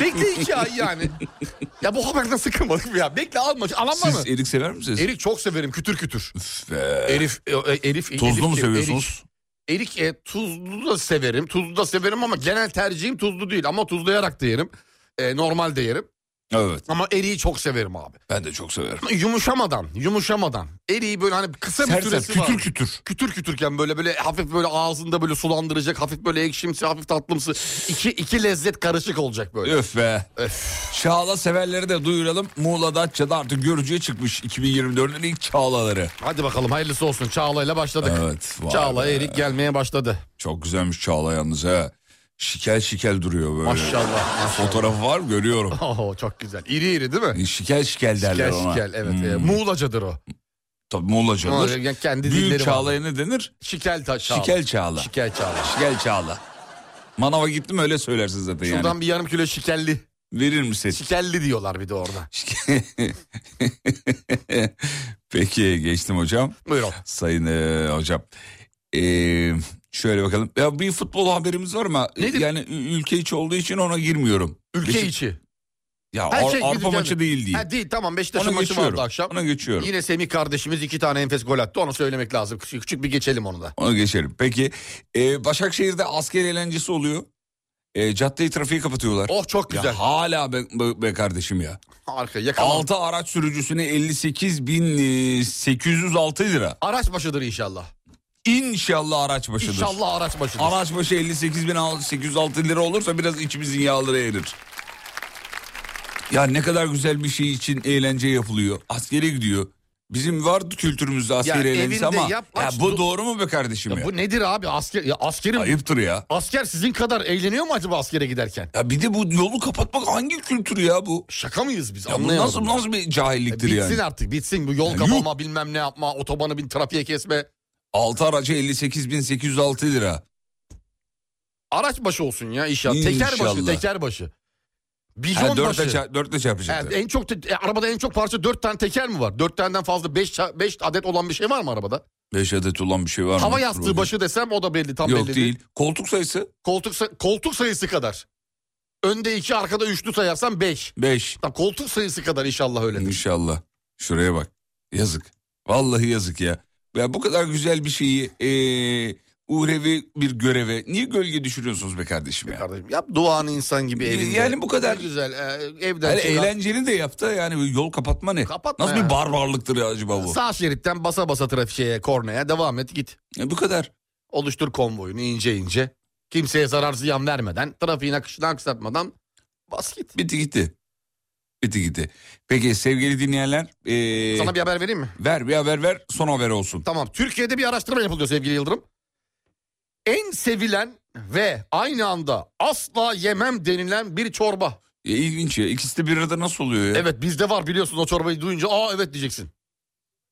Speaker 5: bekle iki ay yani. Ya bu haberden sıkılmadık mı ya? Bekle alma. Alan var mı?
Speaker 4: Siz erik sever misiniz?
Speaker 5: Erik çok severim kütür kütür.
Speaker 4: Üf be.
Speaker 5: Erif, e, e, Erif, e,
Speaker 4: Tuzlu
Speaker 5: Elif
Speaker 4: mu
Speaker 5: diyorum,
Speaker 4: seviyorsunuz?
Speaker 5: Erik, erik e, tuzlu da severim. Tuzlu da severim ama genel tercihim tuzlu değil. Ama tuzlayarak da yerim. E, normal de yerim.
Speaker 4: Evet.
Speaker 5: Ama eriği çok severim abi.
Speaker 4: Ben de çok severim.
Speaker 5: Ama Yumuşamadan, yumuşamadan. Eriği böyle hani kısa bir
Speaker 4: Sert
Speaker 5: süresi
Speaker 4: sert
Speaker 5: var.
Speaker 4: kütür kütür.
Speaker 5: kütür kütürken böyle böyle hafif böyle ağzında böyle sulandıracak hafif böyle ekşimsi hafif tatlımsı iki, iki lezzet karışık olacak böyle.
Speaker 4: Öf be. Çağla severleri de duyuralım. Muğla'da Datça'da artık görücüye çıkmış 2024'ün ilk çağlaları.
Speaker 5: Hadi bakalım hayırlısı olsun Çağla ile başladık.
Speaker 4: Evet, vay
Speaker 5: Çağla
Speaker 4: be.
Speaker 5: erik gelmeye başladı.
Speaker 4: Çok güzelmiş Çağla yalnız ha. Şikel şikel duruyor böyle.
Speaker 5: Maşallah. maşallah.
Speaker 4: Fotoğrafı var mı? görüyorum.
Speaker 5: Oho, çok güzel. İri iri değil mi?
Speaker 4: Şikel şikel derler
Speaker 5: Şikel
Speaker 4: ona.
Speaker 5: şikel evet.
Speaker 4: Hmm.
Speaker 5: E, Muğlacadır o.
Speaker 4: Tabii Muğla'cadır.
Speaker 5: Yani kendi
Speaker 4: Büyük
Speaker 5: dilleri var.
Speaker 4: Çağla'ya ne denir?
Speaker 5: Şikel ta- Çağla.
Speaker 4: Şikel Çağla.
Speaker 5: Şikel Çağla.
Speaker 4: Şikel Çağla. Manava gittim öyle söylersin zaten
Speaker 5: Şuradan
Speaker 4: yani.
Speaker 5: bir yarım kilo şikelli.
Speaker 4: Verir misin?
Speaker 5: Şikelli diyorlar bir de orada.
Speaker 4: Peki geçtim hocam.
Speaker 5: Buyurun.
Speaker 4: Sayın eee, hocam. Eee, şöyle bakalım. Ya bir futbol haberimiz var ama e,
Speaker 5: Nedir?
Speaker 4: yani ü- ülke içi olduğu için ona girmiyorum.
Speaker 5: Ülke
Speaker 4: Beşik-
Speaker 5: içi.
Speaker 4: Ya
Speaker 5: Her
Speaker 4: Ar-
Speaker 5: şey
Speaker 4: Avrupa
Speaker 5: gideceğiz.
Speaker 4: maçı değil diye.
Speaker 5: Ha, değil tamam Beşiktaş'ın
Speaker 4: Ona
Speaker 5: maçı
Speaker 4: geçiyorum.
Speaker 5: vardı akşam.
Speaker 4: Ona geçiyorum.
Speaker 5: Yine Semih kardeşimiz iki tane enfes gol attı. Onu söylemek lazım. Küçük, küçük bir geçelim onu da.
Speaker 4: Ona geçelim. Peki eee, Başakşehir'de asker eğlencesi oluyor. Eee caddeyi trafiği kapatıyorlar.
Speaker 5: Oh çok güzel.
Speaker 4: Ya hala be, be- be kardeşim ya.
Speaker 5: Harika yakalan.
Speaker 4: 6 araç sürücüsüne e, 58.806 lira.
Speaker 5: Araç başıdır inşallah.
Speaker 4: İnşallah araç başıdır.
Speaker 5: İnşallah araç başıdır.
Speaker 4: Araç başı 58.806 lira olursa biraz içimizin yağları erir. Ya ne kadar güzel bir şey için eğlence yapılıyor. Askere gidiyor. Bizim var kültürümüzde askeriyeliğimiz
Speaker 5: evinde
Speaker 4: ama
Speaker 5: yap,
Speaker 4: ya
Speaker 5: aç,
Speaker 4: bu
Speaker 5: dur.
Speaker 4: doğru mu be kardeşim ya?
Speaker 5: Ya bu nedir abi asker ya askerim
Speaker 4: Ayıptır ya.
Speaker 5: asker sizin kadar eğleniyor mu acaba askere giderken?
Speaker 4: Ya bir de bu yolu kapatmak hangi kültür ya bu?
Speaker 5: Şaka mıyız biz?
Speaker 4: Ya bu
Speaker 5: Anlayamadım
Speaker 4: nasıl
Speaker 5: ya.
Speaker 4: nasıl bir
Speaker 5: Ya
Speaker 4: cahilliktir
Speaker 5: Bitsin
Speaker 4: yani?
Speaker 5: artık bitsin bu yol
Speaker 4: Ya
Speaker 5: kapama bilmem ne yapma otobanı bin trafiğe kesme.
Speaker 4: 6 araca 58.806 lira.
Speaker 5: Araç başı olsun ya inşallah. Teker başı
Speaker 4: İnşallah.
Speaker 5: teker başı. Bijon
Speaker 4: Ha, dörtle,
Speaker 5: başı.
Speaker 4: ça- dörtle çarpacaktı.
Speaker 5: Evet, en çok te- e, arabada en çok parça 4 tane teker mi var? 4 taneden fazla 5 5 adet olan bir şey var mı arabada?
Speaker 4: 5 adet olan bir şey var mı?
Speaker 5: Hava
Speaker 4: Dur
Speaker 5: yastığı
Speaker 4: bakayım.
Speaker 5: başı desem o da belli tam
Speaker 4: Yok
Speaker 5: belli
Speaker 4: değil. Koltuk sayısı
Speaker 5: Koltuk sa- koltuk sayısı kadar. Önde 2 arkada 3'lü sayarsan 5.
Speaker 4: 5
Speaker 5: Tam koltuk sayısı kadar inşallah öyledir.
Speaker 4: inşallah. Şuraya bak. Yazık. Vallahi yazık ya. Ya bu kadar güzel bir şeyi eee uhrevi bir göreve niye gölge düşürüyorsunuz be kardeşim ya?
Speaker 5: Kardeşim yap duanı insan gibi
Speaker 4: Ya-
Speaker 5: evinde.
Speaker 4: yani bu kadar-
Speaker 5: Ne güzel e, evden
Speaker 4: Yani
Speaker 5: çıkan-
Speaker 4: eğlenceli de yaptı yani yol kapatma ne?
Speaker 5: Kapatma
Speaker 4: Nasıl
Speaker 5: ya.
Speaker 4: bir barbarlıktır ya acaba bu?
Speaker 5: Sağ şeritten basa basa trafiğe, kornaya devam et git.
Speaker 4: E, bu kadar.
Speaker 5: Oluştur konvoyunu ince ince. Kimseye zarar ziyan vermeden, trafiğin akışını aksatmadan bas git.
Speaker 4: Bitti gitti. Bitti gitti. Peki sevgili dinleyenler. eee,
Speaker 5: Sana bir haber vereyim mi?
Speaker 4: Ver bir haber ver son haber olsun.
Speaker 5: Tamam. Türkiye'de bir araştırma yapılıyor sevgili Yıldırım. En sevilen ve aynı anda asla yemem denilen bir çorba.
Speaker 4: E, ilginç ya ikisi de bir arada nasıl oluyor ya?
Speaker 5: Evet bizde var biliyorsun o çorbayı duyunca aa evet diyeceksin.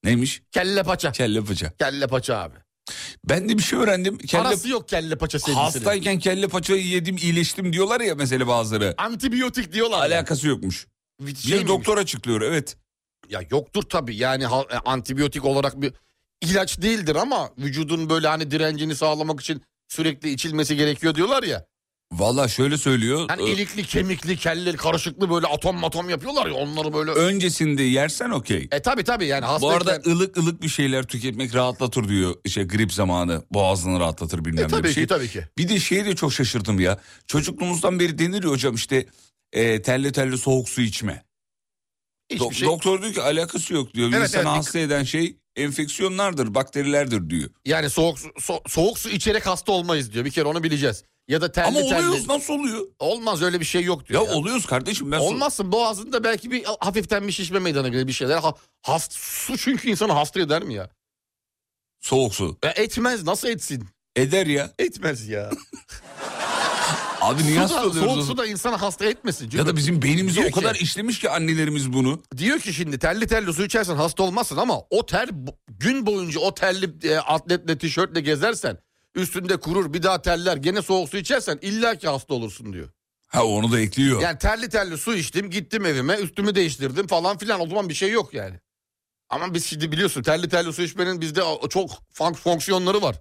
Speaker 4: Neymiş?
Speaker 5: Kelle paça.
Speaker 4: Kelle paça.
Speaker 5: Kelle paça abi.
Speaker 4: Ben de bir şey öğrendim. Kelle
Speaker 5: Parası yok kelle paça sevgisinin.
Speaker 4: Hastayken kelle paçayı yedim iyileştim diyorlar ya mesela bazıları.
Speaker 5: Antibiyotik diyorlar.
Speaker 4: Alakası yokmuş.
Speaker 5: Bir
Speaker 4: Bir
Speaker 5: şey miymiş?
Speaker 4: doktor açıklıyor evet.
Speaker 5: Ya yoktur tabii yani ha- e, antibiyotik olarak bir ilaç değildir ama vücudun böyle hani direncini sağlamak için sürekli içilmesi gerekiyor diyorlar ya.
Speaker 4: Valla şöyle söylüyor.
Speaker 5: Hani
Speaker 4: e,
Speaker 5: ilikli, kemikli, kelleri karışıklı böyle atom matom yapıyorlar ya onları böyle.
Speaker 4: öncesinde yersen okey.
Speaker 5: E tabi tabi yani
Speaker 4: Bu
Speaker 5: hastayken.
Speaker 4: arada ılık ılık bir şeyler tüketmek rahatlatır diyor. İşte grip zamanı boğazını rahatlatır bilmem
Speaker 5: E
Speaker 4: ne
Speaker 5: tabii
Speaker 4: bir
Speaker 5: ki
Speaker 4: şey.
Speaker 5: tabii ki.
Speaker 4: Bir de şeye de çok şaşırdım ya. Çocukluğumuzdan beri denir ya hocam işte e, telli telli soğuk su içme.
Speaker 5: Hiçbir
Speaker 4: Do-
Speaker 5: şey.
Speaker 4: Doktor diyor ki alakası yok diyor. Bir
Speaker 5: Evet,
Speaker 4: insanı
Speaker 5: evet, bir-
Speaker 4: hasta eden şey enfeksiyonlardır, bakterilerdir diyor.
Speaker 5: Yani soğuk su- so- soğuk su içerek hasta olmayız diyor. Bir kere onu bileceğiz. Ya da telli
Speaker 4: Ama
Speaker 5: telli.
Speaker 4: oluyoruz nasıl oluyor?
Speaker 5: Olmaz öyle bir şey yok
Speaker 4: Ya,
Speaker 5: diyor. ya.
Speaker 4: oluyoruz kardeşim ben so-
Speaker 5: Olmazsın boğazında belki bir hafiften bir şişme meydana gelir bir şeyler. Ha, hast, su çünkü insanı hasta eder mi ya?
Speaker 4: soğuk su.
Speaker 5: E, etmez nasıl etsin?
Speaker 4: Eder ya.
Speaker 5: Etmez ya.
Speaker 4: Abi niye
Speaker 5: su
Speaker 4: hasta
Speaker 5: da,
Speaker 4: oluyoruz? o
Speaker 5: soğuk
Speaker 4: zaman?
Speaker 5: su da insanı hasta etmesin. Çünkü
Speaker 4: Ya da bizim beynimize
Speaker 5: Diyor
Speaker 4: o kadar
Speaker 5: ki-
Speaker 4: işlemiş ki annelerimiz bunu.
Speaker 5: Diyor ki şimdi terli terli su içersen hasta olmazsın ama o ter gün boyunca o terli e, atletle tişörtle gezersen üstünde kurur bir daha terler gene soğuk su içersen illa ki hasta olursun diyor.
Speaker 4: Ha onu da ekliyor.
Speaker 5: Yani terli terli su içtim gittim evime üstümü değiştirdim falan filan o zaman bir şey yok yani. Ama biz şimdi biliyorsun terli terli su içmenin bizde o- çok funk fonksiyonları var.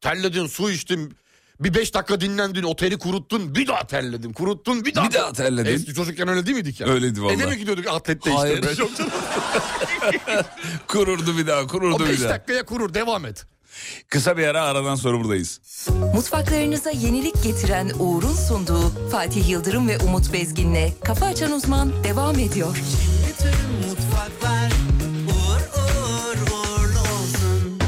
Speaker 5: Terledin su içtin bir beş dakika dinlendin o teri kuruttun bir daha terledin kuruttun bir daha.
Speaker 4: Bir daha terledin.
Speaker 5: Eski çocukken öyle değil miydik ya? E,
Speaker 4: Öyleydi
Speaker 5: Eve mi
Speaker 4: vallahi.
Speaker 5: gidiyorduk atlet
Speaker 4: Hayır.
Speaker 5: değiştirmeye? Yok canım.
Speaker 4: kururdu bir daha,
Speaker 5: O
Speaker 4: kururdu bir
Speaker 5: 5
Speaker 4: daha.
Speaker 5: dakikaya kurur devam et.
Speaker 4: Kısa bir ara aradan sonra buradayız.
Speaker 1: Mutfaklarınıza yenilik getiren Uğur'un sunduğu Fatih Yıldırım ve Umut Bezgin'le Kafa Açan Uzman devam ediyor.
Speaker 2: Şimdi tüm mutfaklar uğur uğur uğurlu olsun.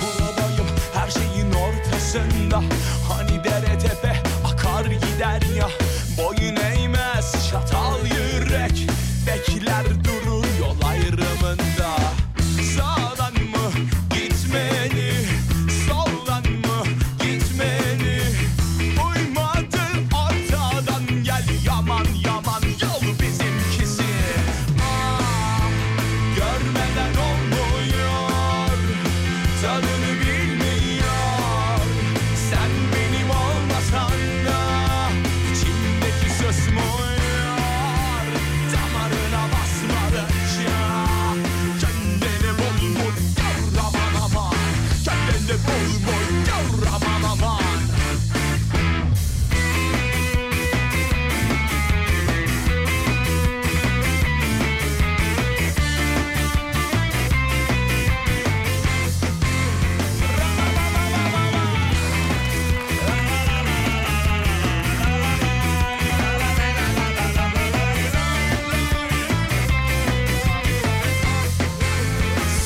Speaker 6: buradayım her şeyin ortasında Hani dere tepe akar gider ya Boyun eğmez çatal yürek Bekler durur yol ayrımında Sağdan mı gitmeli Soldan mı gitmeli Uymadın ortadan gel Yaman yaman yol bizimkisi Ah, Görmeden olmuyor tadını bilmiyor Sen benim olmasan da içimde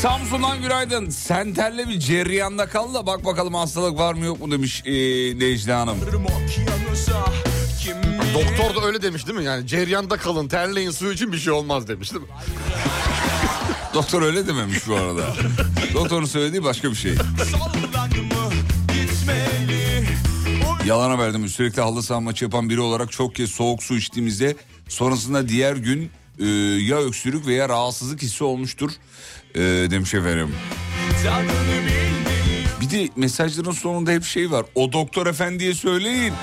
Speaker 4: Samsun'dan günaydın. Senterle bir ceryanda kal da bak bakalım hastalık var mı yok mu demiş ee, Necla Hanım.
Speaker 5: Doktor da öyle demiş değil mi? Yani ceryanda kalın terleyin su için bir şey olmaz demiş değil mi?
Speaker 4: Doktor öyle dememiş bu arada. Doktorun söylediği başka bir şey. Yalana verdim. Sürekli halı saha maçı yapan biri olarak çok kez soğuk su içtiğimizde sonrasında diğer gün e, ya öksürük veya rahatsızlık hissi olmuştur e, demiş efendim. Bir de mesajların sonunda hep şey var. O doktor efendiye söyleyin.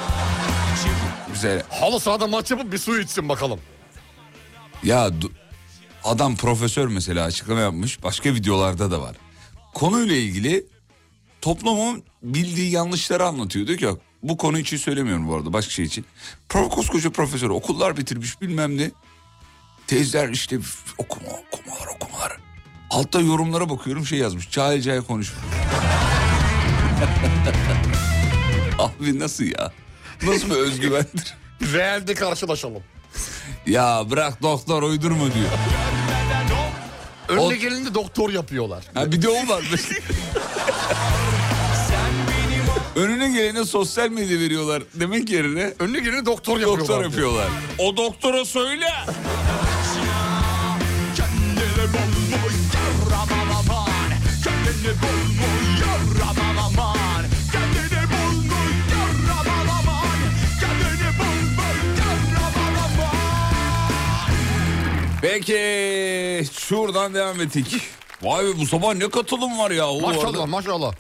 Speaker 4: Güzel.
Speaker 5: Halı sahada maç yapıp bir su içsin bakalım.
Speaker 4: Ya du- adam profesör mesela açıklama yapmış. Başka videolarda da var. Konuyla ilgili toplumun bildiği yanlışları anlatıyor. Diyor ki "Bak, bu konu için söylemiyorum bu arada başka şey için. Pro- Koskoca profesör okullar bitirmiş bilmem ne. Tezler işte f- okuma okumalar okumalar. Altta yorumlara bakıyorum şey yazmış. Cahil cahil konuşma. Abi nasıl ya? Nasıl bir özgüvendir?
Speaker 5: Real'de karşılaşalım.
Speaker 4: ya bırak doktor uydurma diyor.
Speaker 5: Önüne
Speaker 4: O-
Speaker 5: geleni de doktor yapıyorlar.
Speaker 4: Ha bir de o var. Önüne gelene sosyal medya veriyorlar demek yerine
Speaker 5: Önüne geleni doktor yapıyorlar.
Speaker 4: doktor yapıyorlar. O doktora söyle. Peki şuradan devam ettik. Vay be bu sabah ne katılım var ya.
Speaker 5: Maşallah maşallah.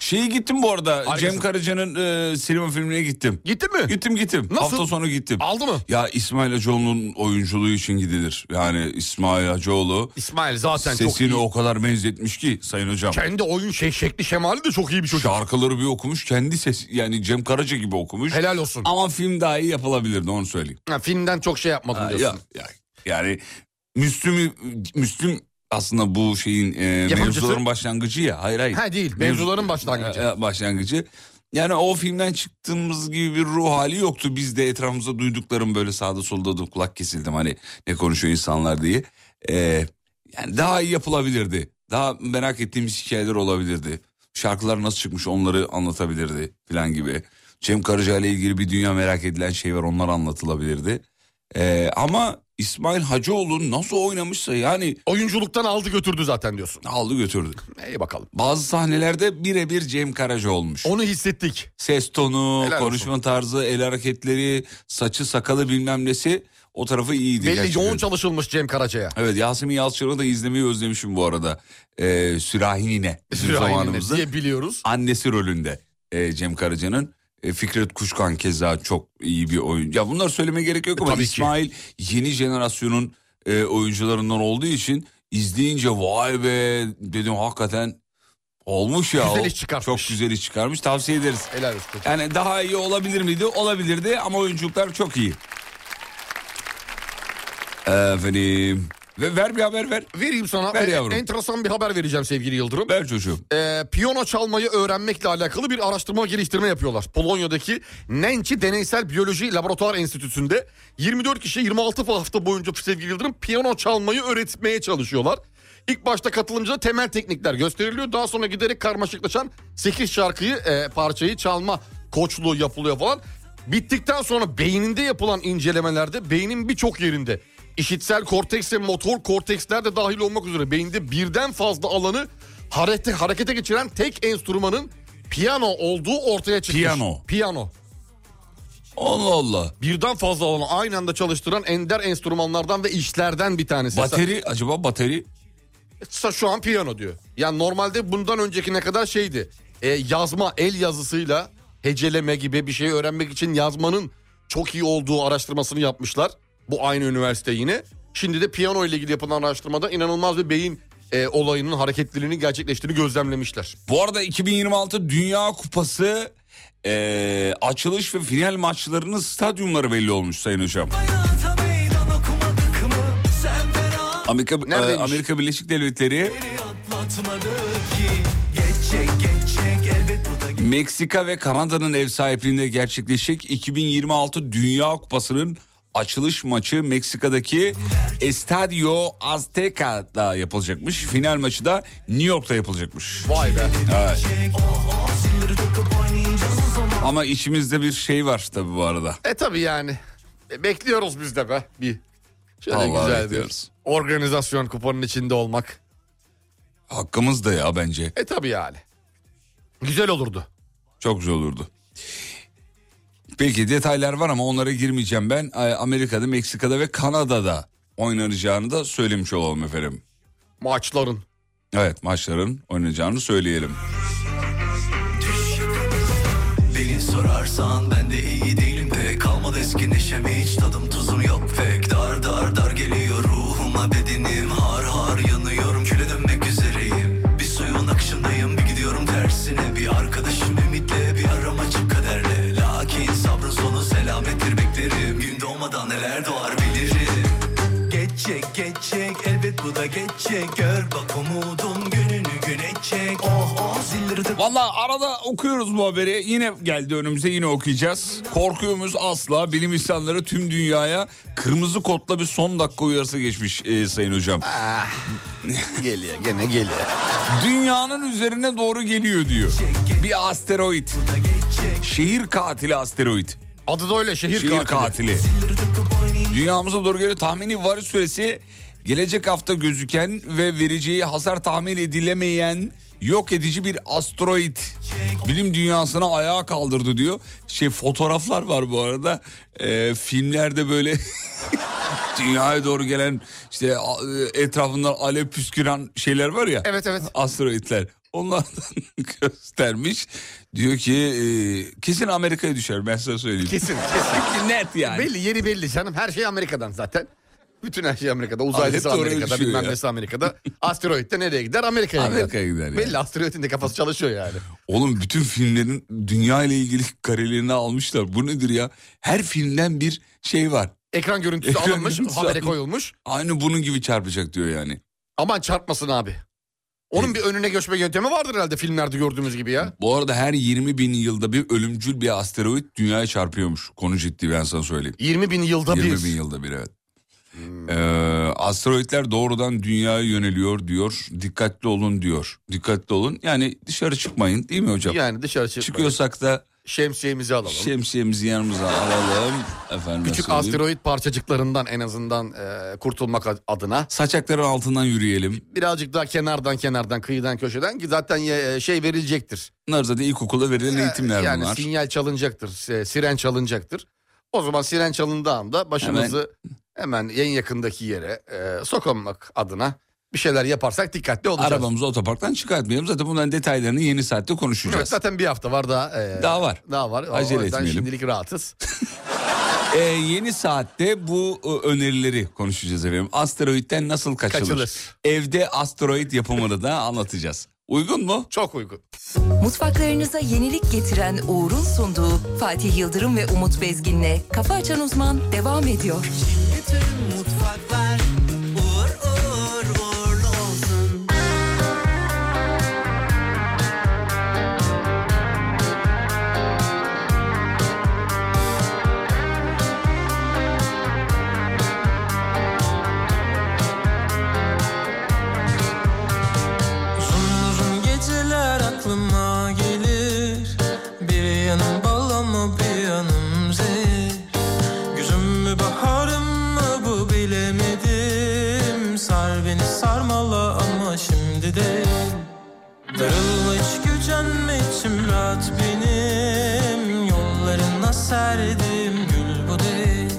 Speaker 4: Şeyi gittim bu arada.
Speaker 5: Harikasın.
Speaker 4: Cem Karaca'nın e, sinema filmine gittim.
Speaker 5: Gitti mi?
Speaker 4: Gittim gittim.
Speaker 5: Nasıl?
Speaker 4: Hafta sonu gittim.
Speaker 5: Aldı mı?
Speaker 4: Ya İsmail Hacıoğlu'nun oyunculuğu için gidilir. Yani İsmail Hacıoğlu
Speaker 5: İsmail zaten çok iyi.
Speaker 4: sesini o kadar benzetmiş ki sayın hocam.
Speaker 5: Kendi oyun şey, şekli şemali de çok iyi bir çocuk.
Speaker 4: Şarkıları bir okumuş kendi ses yani Cem Karaca gibi okumuş.
Speaker 5: Helal olsun.
Speaker 4: Ama film daha iyi yapılabilirdi onu söyleyeyim.
Speaker 5: Ha, filmden çok şey yapmadım
Speaker 4: Ha,
Speaker 5: diyorsun.
Speaker 4: ya- ya- yani Müslüm Müslüm aslında bu şeyin e, mevzuların başlangıcı ya. Hayır hayır.
Speaker 5: Ha değil. Mevzuların başlangıcı.
Speaker 4: E, e, başlangıcı. Yani o filmden çıktığımız gibi bir ruh hali yoktu. Biz de etrafımızda duyduklarım böyle sağda solda da kulak kesildim hani ne konuşuyor insanlar diye. E, yani daha iyi yapılabilirdi. Daha merak ettiğimiz hikayeler olabilirdi. Şarkılar nasıl çıkmış onları anlatabilirdi falan gibi. Cem Karaca ile ilgili bir dünya merak edilen şey var onlar anlatılabilirdi. E, ama İsmail Hacıoğlu nasıl oynamışsa yani
Speaker 5: Oyunculuktan aldı götürdü zaten diyorsun.
Speaker 4: aldı götürdü.
Speaker 5: İyi bakalım.
Speaker 4: Bazı sahnelerde birebir Cem Karaca olmuş.
Speaker 5: Onu hissettik.
Speaker 4: Ses tonu,
Speaker 5: Helal olsun.
Speaker 4: konuşma tarzı, el hareketleri, saçı, sakalı bilmem nesi o tarafı iyiydi.
Speaker 5: Belli
Speaker 4: gerçekten.
Speaker 5: yoğun çalışılmış Cem Karaca'ya.
Speaker 4: Evet Yasemin Yalçın'ı da izlemeyi özlemişim bu arada. Ee, Sürahi Nine bizim zamanımızda.
Speaker 5: diye biliyoruz.
Speaker 4: Annesi rolünde e, Cem Karaca'nın. E, Fikret Kuşkan keza çok iyi bir oyun. Ya bunlar söylemeye gerek yok ama
Speaker 5: E, tabii ki.
Speaker 4: İsmail yeni jenerasyonun e, oyuncularından olduğu için izleyince vay be dedim hakikaten olmuş ya.
Speaker 5: Güzel
Speaker 4: o.
Speaker 5: iş çıkartmış.
Speaker 4: Çok güzel iş çıkarmış tavsiye ederiz.
Speaker 5: Helal olsun.
Speaker 4: Yani daha iyi olabilir miydi? Olabilirdi ama oyunculuklar çok iyi. Efendim. Ve ver bir haber ver.
Speaker 5: Vereyim sana.
Speaker 4: Ver
Speaker 5: e,
Speaker 4: yavrum.
Speaker 5: Enteresan bir haber vereceğim sevgili Yıldırım.
Speaker 4: Ver çocuğum.
Speaker 5: Ee, piyano çalmayı öğrenmekle alakalı bir araştırma geliştirme yapıyorlar. Polonya'daki Nenci Deneysel Biyoloji Laboratuvar Enstitüsü'nde 24 kişi 26 hafta boyunca sevgili Yıldırım piyano çalmayı öğretmeye çalışıyorlar. İlk başta katılımcıda temel teknikler gösteriliyor. Daha sonra giderek karmaşıklaşan 8 şarkıyı, e, parçayı çalma koçluğu yapılıyor falan. Bittikten sonra beyninde yapılan incelemelerde beynin birçok yerinde işitsel korteks ve motor korteksler de dahil olmak üzere beyinde birden fazla alanı harete, harekete geçiren tek enstrümanın piyano olduğu ortaya çıkmış.
Speaker 4: Piyano.
Speaker 5: Piyano.
Speaker 4: Allah Allah.
Speaker 5: Birden fazla alanı aynı anda çalıştıran ender enstrümanlardan ve işlerden bir tanesi.
Speaker 4: Bateri acaba bateri?
Speaker 5: Sa- şu an piyano diyor. Yani normalde bundan öncekine kadar şeydi. E, yazma, el yazısıyla heceleme gibi bir şey öğrenmek için yazmanın çok iyi olduğu araştırmasını yapmışlar. Bu aynı üniversite yine. Şimdi de piyano ile ilgili yapılan araştırmada inanılmaz bir beyin e, olayının hareketliliğinin gerçekleştiğini gözlemlemişler.
Speaker 4: Bu arada 2026 Dünya Kupası eee, açılış ve final maçlarının stadyumları belli olmuş Sayın Hocam. Amerika,
Speaker 5: Neredeymiş?
Speaker 4: eee, Amerika Birleşik Devletleri, Meksika ve Kanada'nın ev sahipliğinde gerçekleşecek 2026 Dünya Kupası'nın açılış maçı Meksika'daki Estadio Azteca'da yapılacakmış. Final maçı da New York'ta yapılacakmış.
Speaker 5: Vay be.
Speaker 4: Evet. Ama içimizde bir şey var tabii bu arada.
Speaker 5: E tabi yani. E, Bekliyoruz biz de be. Bir. Şöyle
Speaker 4: Vallahi
Speaker 5: güzel
Speaker 4: bekliyoruz.
Speaker 5: diyoruz. Organizasyon kuponun içinde olmak.
Speaker 4: Hakkımız da ya bence.
Speaker 5: E tabi yani. Güzel olurdu.
Speaker 4: Çok güzel olurdu. Peki detaylar var ama onlara girmeyeceğim ben. Ee, Amerika'da, Meksika'da ve Kanada'da oynanacağını da söylemiş olalım efendim.
Speaker 5: Maçların.
Speaker 4: Evet maçların oynanacağını söyleyelim.
Speaker 9: Beni sorarsan ben de iyi değilim pek Kalmadı eski neşem hiç tadım tuzum yok pek Dar dar dar geliyor ruhuma bedenim Har har yanıyorum küle dönmek üzereyim Bir suyun akışındayım bir gidiyorum tersine Bir arkadaşım ümitle bir aram açık kaderle Lakin sabrın sonu selamettir beklerim Gün doğmadan neler doğar bilirim Geçecek geçecek elbet bu da geçecek Gör bak umudum gününü güne çek Oh oh zilleri de
Speaker 4: Valla arada okuyoruz bu haberi. Yine geldi önümüze yine okuyacağız. Korkuyoruz asla. Bilim insanları tüm dünyaya kırmızı kodla bir son dakika uyarısı geçmiş e, sayın hocam.
Speaker 5: Ah, Geliyor gene geliyor.
Speaker 4: Dünyanın üzerine doğru geliyor diyor. Bir asteroid. Şehir katili asteroid.
Speaker 5: Adı da öyle şehir,
Speaker 4: Şehir katili.
Speaker 5: katili.
Speaker 4: Dünyamıza doğru geliyor. Tahmini varış süresi gelecek hafta gözüken ve vereceği hasar tahmin edilemeyen yok edici bir asteroid bilim dünyasına ayağa kaldırdı diyor. Şey fotoğraflar var bu arada. Ee, filmlerde böyle dünyaya doğru gelen işte a- etrafından alev püsküren şeyler var ya.
Speaker 5: Evet, evet.
Speaker 4: Asteroidler. Onlardan göstermiş. Diyor ki e, kesin Amerika'ya düşer ben size söyleyeyim.
Speaker 5: Kesin kesin.
Speaker 4: Net yani.
Speaker 5: belli yeri belli canım. Her şey Amerika'dan zaten. Bütün her şey Amerika'da.
Speaker 4: Alet
Speaker 5: Uzaylısı
Speaker 4: de oraya
Speaker 5: Amerika'da,
Speaker 4: düşüyor
Speaker 5: bilmem
Speaker 4: ya.
Speaker 5: nesi Amerika'da. Asteroid de nereye gider? Amerika'ya gider.
Speaker 4: Amerika'ya gider yani.
Speaker 5: Belli asteroidin de kafası çalışıyor yani.
Speaker 4: Oğlum bütün filmlerin dünya ile ilgili karelerini almışlar. Bu nedir ya? Her filmden bir şey var.
Speaker 5: Ekran görüntüsü
Speaker 4: Ekran
Speaker 5: alınmış,
Speaker 4: görüntüsü
Speaker 5: habere
Speaker 4: alınmış.
Speaker 5: koyulmuş.
Speaker 4: Aynı bunun gibi çarpacak diyor yani.
Speaker 5: Aman çarpmasın abi. Onun bir önüne göçme yöntemi vardır herhalde filmlerde gördüğümüz gibi ya.
Speaker 4: Bu arada her 20 bin yılda bir ölümcül bir asteroid dünyaya çarpıyormuş. Konu ciddi ben sana söyleyeyim.
Speaker 5: 20 bin yılda
Speaker 4: 20
Speaker 5: bir.
Speaker 4: bin yılda bir evet.
Speaker 5: Hmm.
Speaker 4: Ee, asteroidler doğrudan dünyaya yöneliyor diyor. Dikkatli olun diyor. Dikkatli olun. Yani dışarı çıkmayın değil mi hocam?
Speaker 5: Yani dışarı çıkıp
Speaker 4: Çıkıyorsak da
Speaker 5: şemsiyemizi alalım.
Speaker 4: Şey şemsiyemizi yanımıza alalım. Efendim
Speaker 5: Küçük asteroid parçacıklarından en azından e, kurtulmak ad- adına.
Speaker 4: Saçakların altından yürüyelim.
Speaker 5: Birazcık daha kenardan kenardan kıyıdan köşeden ki zaten e, şey verilecektir.
Speaker 4: Bunlar zaten ilkokulda verilen eğitimler
Speaker 5: yani
Speaker 4: bunlar.
Speaker 5: sinyal çalınacaktır, e, siren çalınacaktır. O zaman siren çalındığı anda başımızı hemen, en yakındaki yere e, sokamak adına bir şeyler yaparsak dikkatli olacağız.
Speaker 4: Arabamızı otoparktan çıkartmayalım. Zaten bunların detaylarını yeni saatte
Speaker 5: Evet,
Speaker 4: konuşacağız.
Speaker 5: zaten bir hafta var daha. e,
Speaker 4: Daha var.
Speaker 5: Daha var. O-
Speaker 4: Acele
Speaker 5: o yüzden
Speaker 4: etmeyelim.
Speaker 5: şimdilik rahatız.
Speaker 4: Ee, yeni saatte bu e, önerileri konuşacağız efendim. Asteroitten nasıl kaçılır?
Speaker 5: Kaçılır.
Speaker 4: Evde asteroid yapımını da anlatacağız. Uygun mu?
Speaker 5: Çok uygun.
Speaker 1: Mutfaklarınıza yenilik getiren Uğur'un sunduğu Fatih Yıldırım ve Umut Bezgin'le Kafa Açan Uzman devam ediyor.
Speaker 6: Bütün mutfaklar uğur uğur uğurlu olsun.
Speaker 10: Uzun uzun geceler aklıma gelir Bir yanım bal ama bir yanım zehir Güzüm mü baharım mı bu bilemedim Sar beni sarmala ama şimdi de Darılma hiç gücenme içim rahat benim Yollarına serdim gül bu değil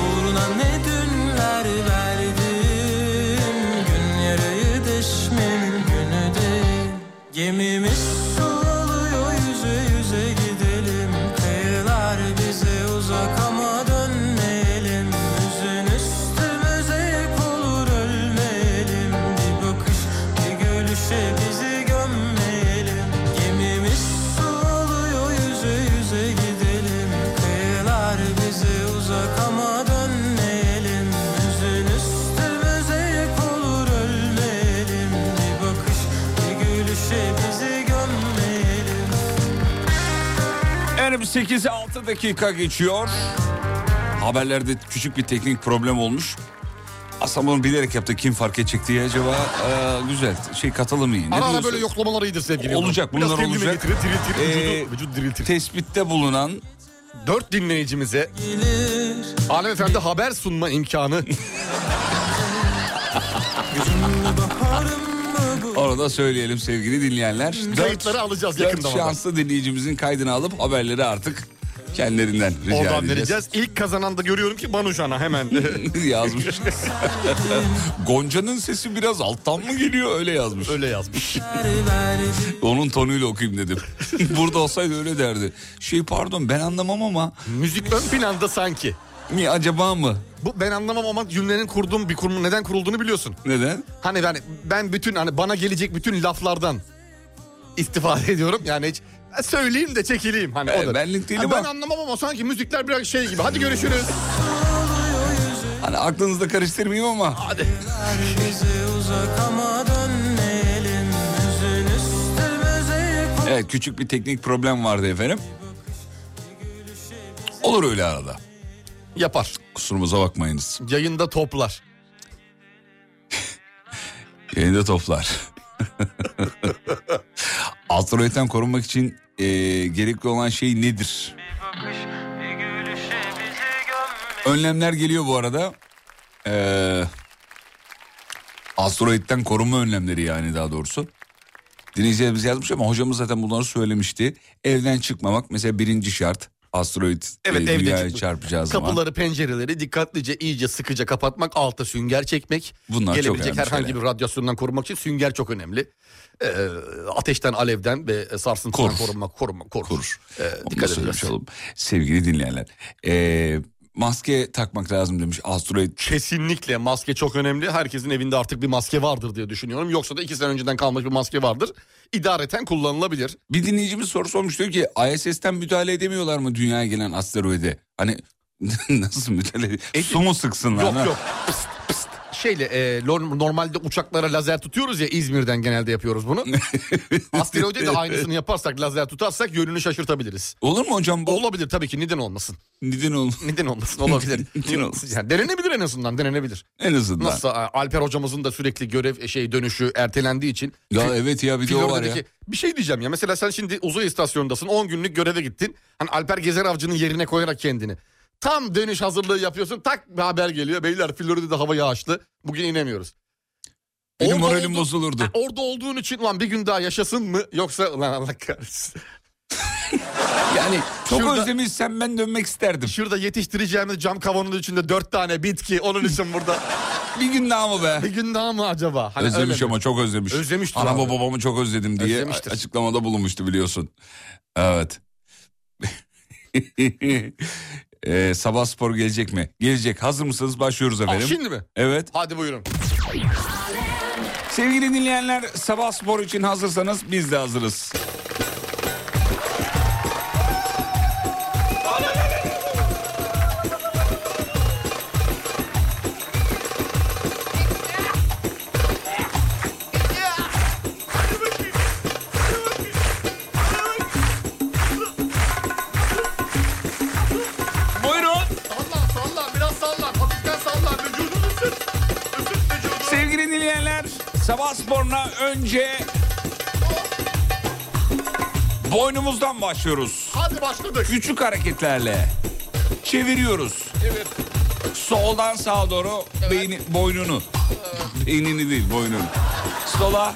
Speaker 10: Uğruna ne dünler verdim Gün yarayı deşmenin günü değil Gemimiz su alıyor yüze yüze gidelim Kayalar bize uzak ama dönmeyelim Üzün üstümüze yük olur ölmeyelim Bir bakış bir gülüşe bizi gömmeyelim Gemimiz su alıyor yüze yüze gidelim Kayalar bize uzak ama dönmeyelim Üzün üstümüze yük olur ölmeyelim Bir bakış bir gülüşe bizi gömmeyelim
Speaker 4: Efendim 8'e 6 dakika geçiyor. haberlerde küçük bir teknik problem olmuş. Aslında bunu bilerek yaptı kim fark edecek diye acaba e, güzel şey katalım iyi. Ne
Speaker 5: Ara ara
Speaker 4: diyorsun?
Speaker 5: böyle yoklamalar iyidir sevgili Yıldırım.
Speaker 4: Olacak,
Speaker 5: Biraz
Speaker 4: bunlar
Speaker 5: kendine
Speaker 4: olacak.
Speaker 5: getirir, diriltir,
Speaker 4: Ee,
Speaker 5: vücudu, vücut diriltir.
Speaker 4: Tespitte bulunan
Speaker 5: Dört dinleyicimize Alem Efendi haber sunma imkanı
Speaker 4: orada söyleyelim sevgili dinleyenler. Dört,
Speaker 5: Hmm. kayıtları alacağız yakında.
Speaker 4: dört
Speaker 5: valla.
Speaker 4: şanslı dinleyicimizin kaydını alıp haberleri artık kendilerinden rica
Speaker 5: Oradan
Speaker 4: edeceğiz.
Speaker 5: vereceğiz. İlk kazanan da görüyorum ki Banu Şan'a hemen.
Speaker 4: yazmış. Gonca'nın sesi biraz alttan mı geliyor öyle yazmış.
Speaker 5: Öyle yazmış.
Speaker 4: Onun tonuyla okuyayım dedim. Burada olsaydı öyle derdi. Şey pardon ben anlamam ama
Speaker 5: Müzik ön planda sanki.
Speaker 4: mi acaba mı?
Speaker 5: Bu ben anlamam ama cümlenin kurduğum bir kurumun neden kurulduğunu biliyorsun.
Speaker 4: Neden?
Speaker 5: Hani ben ben bütün hani bana gelecek bütün laflardan istifade ediyorum. Yani hiç ben söyleyeyim de çekileyim hani
Speaker 4: Ben-
Speaker 5: o da.
Speaker 4: benlik değil
Speaker 5: Ha, ben
Speaker 4: ama.
Speaker 5: anlamam ama sanki müzikler biraz şey gibi. Hadi görüşürüz.
Speaker 4: Hani aklınızda karıştırmayayım ama.
Speaker 6: Bizi uzak ama dönmeyelim Hüzün üstümüze
Speaker 4: Evet küçük bir teknik problem vardı efendim. Olur öyle arada.
Speaker 5: Yapar.
Speaker 4: Kusurumuza bakmayınız.
Speaker 5: Yayında toplar.
Speaker 4: Yayında toplar. Asteroidden korunmak için e, gerekli olan şey nedir? Önlemler geliyor bu arada. Ee, asteroidden korunma önlemleri yani daha doğrusu. Dinleyicilerimiz yazmış ama hocamız zaten bunları söylemişti. Evden çıkmamak mesela birinci şart. Asteroid
Speaker 5: Evet,
Speaker 4: e,
Speaker 5: evde
Speaker 4: dünyaya
Speaker 5: çıkmak.
Speaker 4: çarpacağı zaman.
Speaker 5: Kapıları, pencereleri dikkatlice iyice sıkıca kapatmak, alta sünger çekmek.
Speaker 4: Bunlar çok
Speaker 5: gelebilecek
Speaker 4: önemli
Speaker 5: herhangi
Speaker 4: şeyler.
Speaker 5: bir radyasyondan korumak için sünger çok önemli. Ee, ateşten, alevden ve sarsıntıdan
Speaker 4: Korur.
Speaker 5: korunmak, korunmak, korur.
Speaker 4: Korur.
Speaker 5: Ee,
Speaker 4: Onu da
Speaker 5: dikkat edeceğiz.
Speaker 4: söylemiş olalım. Sevgili dinleyenler. Ee, maske takmak lazım demiş asteroid.
Speaker 5: Kesinlikle maske çok önemli. Herkesin evinde artık bir maske vardır diye düşünüyorum. Yoksa da iki sene önceden kalmış bir maske vardır. İdareten kullanılabilir.
Speaker 4: Bir dinleyicimiz soru sormuş diyor ki ISS'ten müdahale edemiyorlar mı dünyaya gelen asteroide? Hani nasıl müdahale ed- Su mu sıksınlar?
Speaker 5: E, Yok
Speaker 4: lan?
Speaker 5: yok. Pıst, pıst. Şeyle e, lor- normalde uçaklara lazer tutuyoruz ya İzmir'den genelde yapıyoruz bunu. Asteroide de aynısını yaparsak lazer tutarsak yönünü şaşırtabiliriz.
Speaker 4: Olur mu hocam bu?
Speaker 5: Olabilir tabii ki neden olmasın.
Speaker 4: Neden ol?
Speaker 5: Neden olmasın olabilir.
Speaker 4: Neden olmasın?
Speaker 5: Yani denenebilir en azından denenebilir.
Speaker 4: En azından.
Speaker 5: Nasıl e, Alper hocamızın da sürekli görev e, şey dönüşü ertelendiği için.
Speaker 4: Ya evet ya bir de o var ya.
Speaker 5: Florida'daki- Bir şey diyeceğim ya mesela sen şimdi uzay istasyonundasın 10 günlük göreve gittin. Hani Alper Gezer Avcı'nın yerine koyarak kendini. Tam dönüş hazırlığı yapıyorsun tak bir haber geliyor. Beyler Florida'da hava yağışlı bugün inemiyoruz.
Speaker 4: Benim
Speaker 5: Orada
Speaker 4: moralim
Speaker 5: oldu-
Speaker 4: bozulurdu.
Speaker 5: Ha, Orada olduğun için lan bir gün daha yaşasın mı yoksa lan Allah kahretsin.
Speaker 4: Yani çok
Speaker 5: Şurada-
Speaker 4: özlemişsem ben dönmek isterdim.
Speaker 5: Şurada yetiştireceğimiz cam kavanozun içinde 4 tane bitki onun için burada.
Speaker 4: Bir gün daha mı be?
Speaker 5: bir gün daha mı acaba? Hani öyle
Speaker 4: özlemiş
Speaker 5: mi?
Speaker 4: ama çok özlemiş.
Speaker 5: Özlemiştir
Speaker 4: Anamı
Speaker 5: abi.
Speaker 4: babamı çok özledim diye
Speaker 5: Özlemiştir.
Speaker 4: açıklamada bulunmuştu biliyorsun. Evet. Ee, sabah spor gelecek mi? Gelecek. Hazır mısınız? Başlıyoruz
Speaker 5: Aa,
Speaker 4: efendim.
Speaker 5: şimdi mi?
Speaker 4: Evet.
Speaker 5: Hadi buyurun.
Speaker 4: Sevgili dinleyenler sabah spor için hazırsanız biz de hazırız. Buyurun.
Speaker 5: Salla salla biraz salla hafiften salla vücudunu ısıt. Isıt vücudunu.
Speaker 4: Sevgili dinleyenler, sabah sporuna önce boynumuzdan başlıyoruz.
Speaker 5: Hadi başladık.
Speaker 4: Küçük hareketlerle çeviriyoruz.
Speaker 5: Evet.
Speaker 4: Soldan sağa doğru beyni, boynunu. Beynini değil, boynunu. Sola,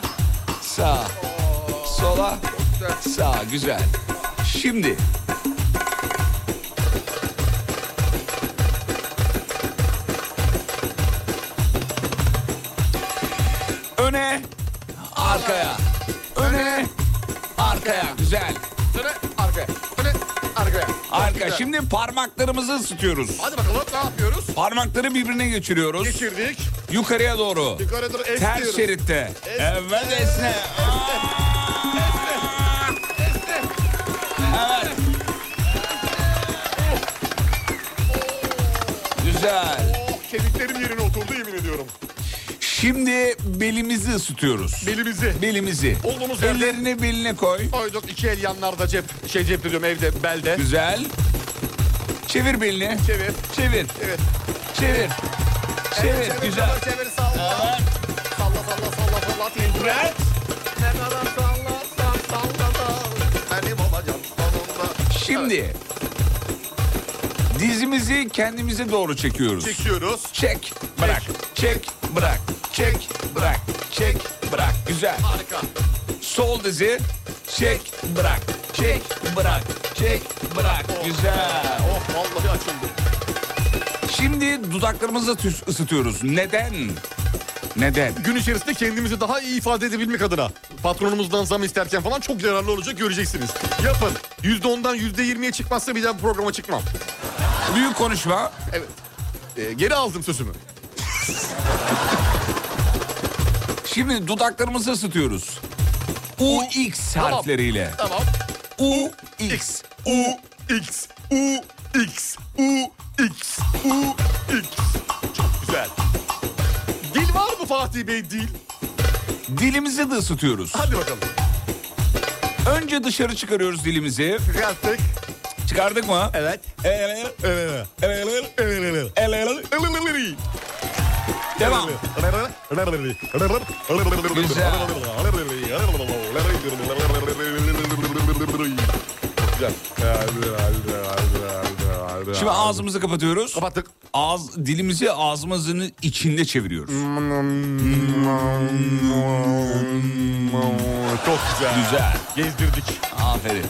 Speaker 4: sağ. Sola, sağ. Güzel. Şimdi öne, arkaya. Öne, arkaya. Güzel.
Speaker 5: Öne arkaya. Öne arkaya.
Speaker 4: Arka. Şimdi parmaklarımızı ısıtıyoruz.
Speaker 5: Hadi bakalım ne yapıyoruz?
Speaker 4: Parmakları birbirine geçiriyoruz.
Speaker 5: Geçirdik.
Speaker 4: Yukarıya doğru.
Speaker 5: Yukarı doğru
Speaker 4: Ters
Speaker 5: esniyoruz.
Speaker 4: şeritte. Evet esne. Aa! Evet. Güzel.
Speaker 5: Oh kemiklerim yerine oturdu yemin ediyorum.
Speaker 4: Şimdi belimizi ısıtıyoruz.
Speaker 5: Belimizi.
Speaker 4: Belimizi.
Speaker 5: Olduğumuz yerde-
Speaker 4: Ellerini beline koy.
Speaker 5: Koyduk iki el yanlarda cep şey cep diyorum evde belde.
Speaker 4: Güzel. Çevir belini.
Speaker 5: Çevir.
Speaker 4: Çevir.
Speaker 5: Evet.
Speaker 4: Çevir. Çevir.
Speaker 5: çevir,
Speaker 4: Güzel.
Speaker 5: Çevir, çevir salla.
Speaker 4: Aman.
Speaker 5: Salla salla salla salla.
Speaker 4: Bırak.
Speaker 5: Kenara salla salla salla salla. Benim olacağım sonunda.
Speaker 4: Şimdi dizimizi kendimize doğru çekiyoruz.
Speaker 5: Çekiyoruz.
Speaker 4: Çek, bırak. Çek, bırak. Çek, bırak. Çek, bırak. Güzel.
Speaker 5: Harika.
Speaker 4: Sol dizi. Çek, bırak. Çek, bırak. Çek, bırak. Güzel.
Speaker 5: Oh vallahi açıldı.
Speaker 4: Şimdi dudaklarımızı tüs- ısıtıyoruz. Neden? Neden?
Speaker 5: Gün içerisinde kendimizi daha iyi ifade edebilmek adına patronumuzdan zam isterken falan çok yararlı olacak göreceksiniz. Yapın. %10'dan %20'ye çıkmazsa bir daha bu programa çıkmam.
Speaker 4: Büyük konuşma.
Speaker 5: Evet. Ee, geri aldım sözümü.
Speaker 4: Şimdi dudaklarımızı ısıtıyoruz. UX
Speaker 5: Oh. Tamam.
Speaker 4: harfleriyle.
Speaker 5: Tamam.
Speaker 4: UX.
Speaker 5: U X U X U X U X. Çok güzel. Dil var mı Fatih Bey dil?
Speaker 4: Dilimizi de ısıtıyoruz.
Speaker 5: Hadi bakalım.
Speaker 4: Önce dışarı çıkarıyoruz dilimizi.
Speaker 5: Yaptık.
Speaker 4: Çıkardık mı?
Speaker 5: Evet.
Speaker 4: Evet.
Speaker 5: Evet.
Speaker 4: Evet.
Speaker 5: Evet.
Speaker 4: Evet. Devam. Güzel. Şimdi ağzımızı kapatıyoruz.
Speaker 5: Kapattık.
Speaker 4: Ağız, dilimizi ağzımızın içinde çeviriyoruz.
Speaker 5: Çok güzel.
Speaker 4: Güzel.
Speaker 5: Gezdirdik.
Speaker 4: Aferin.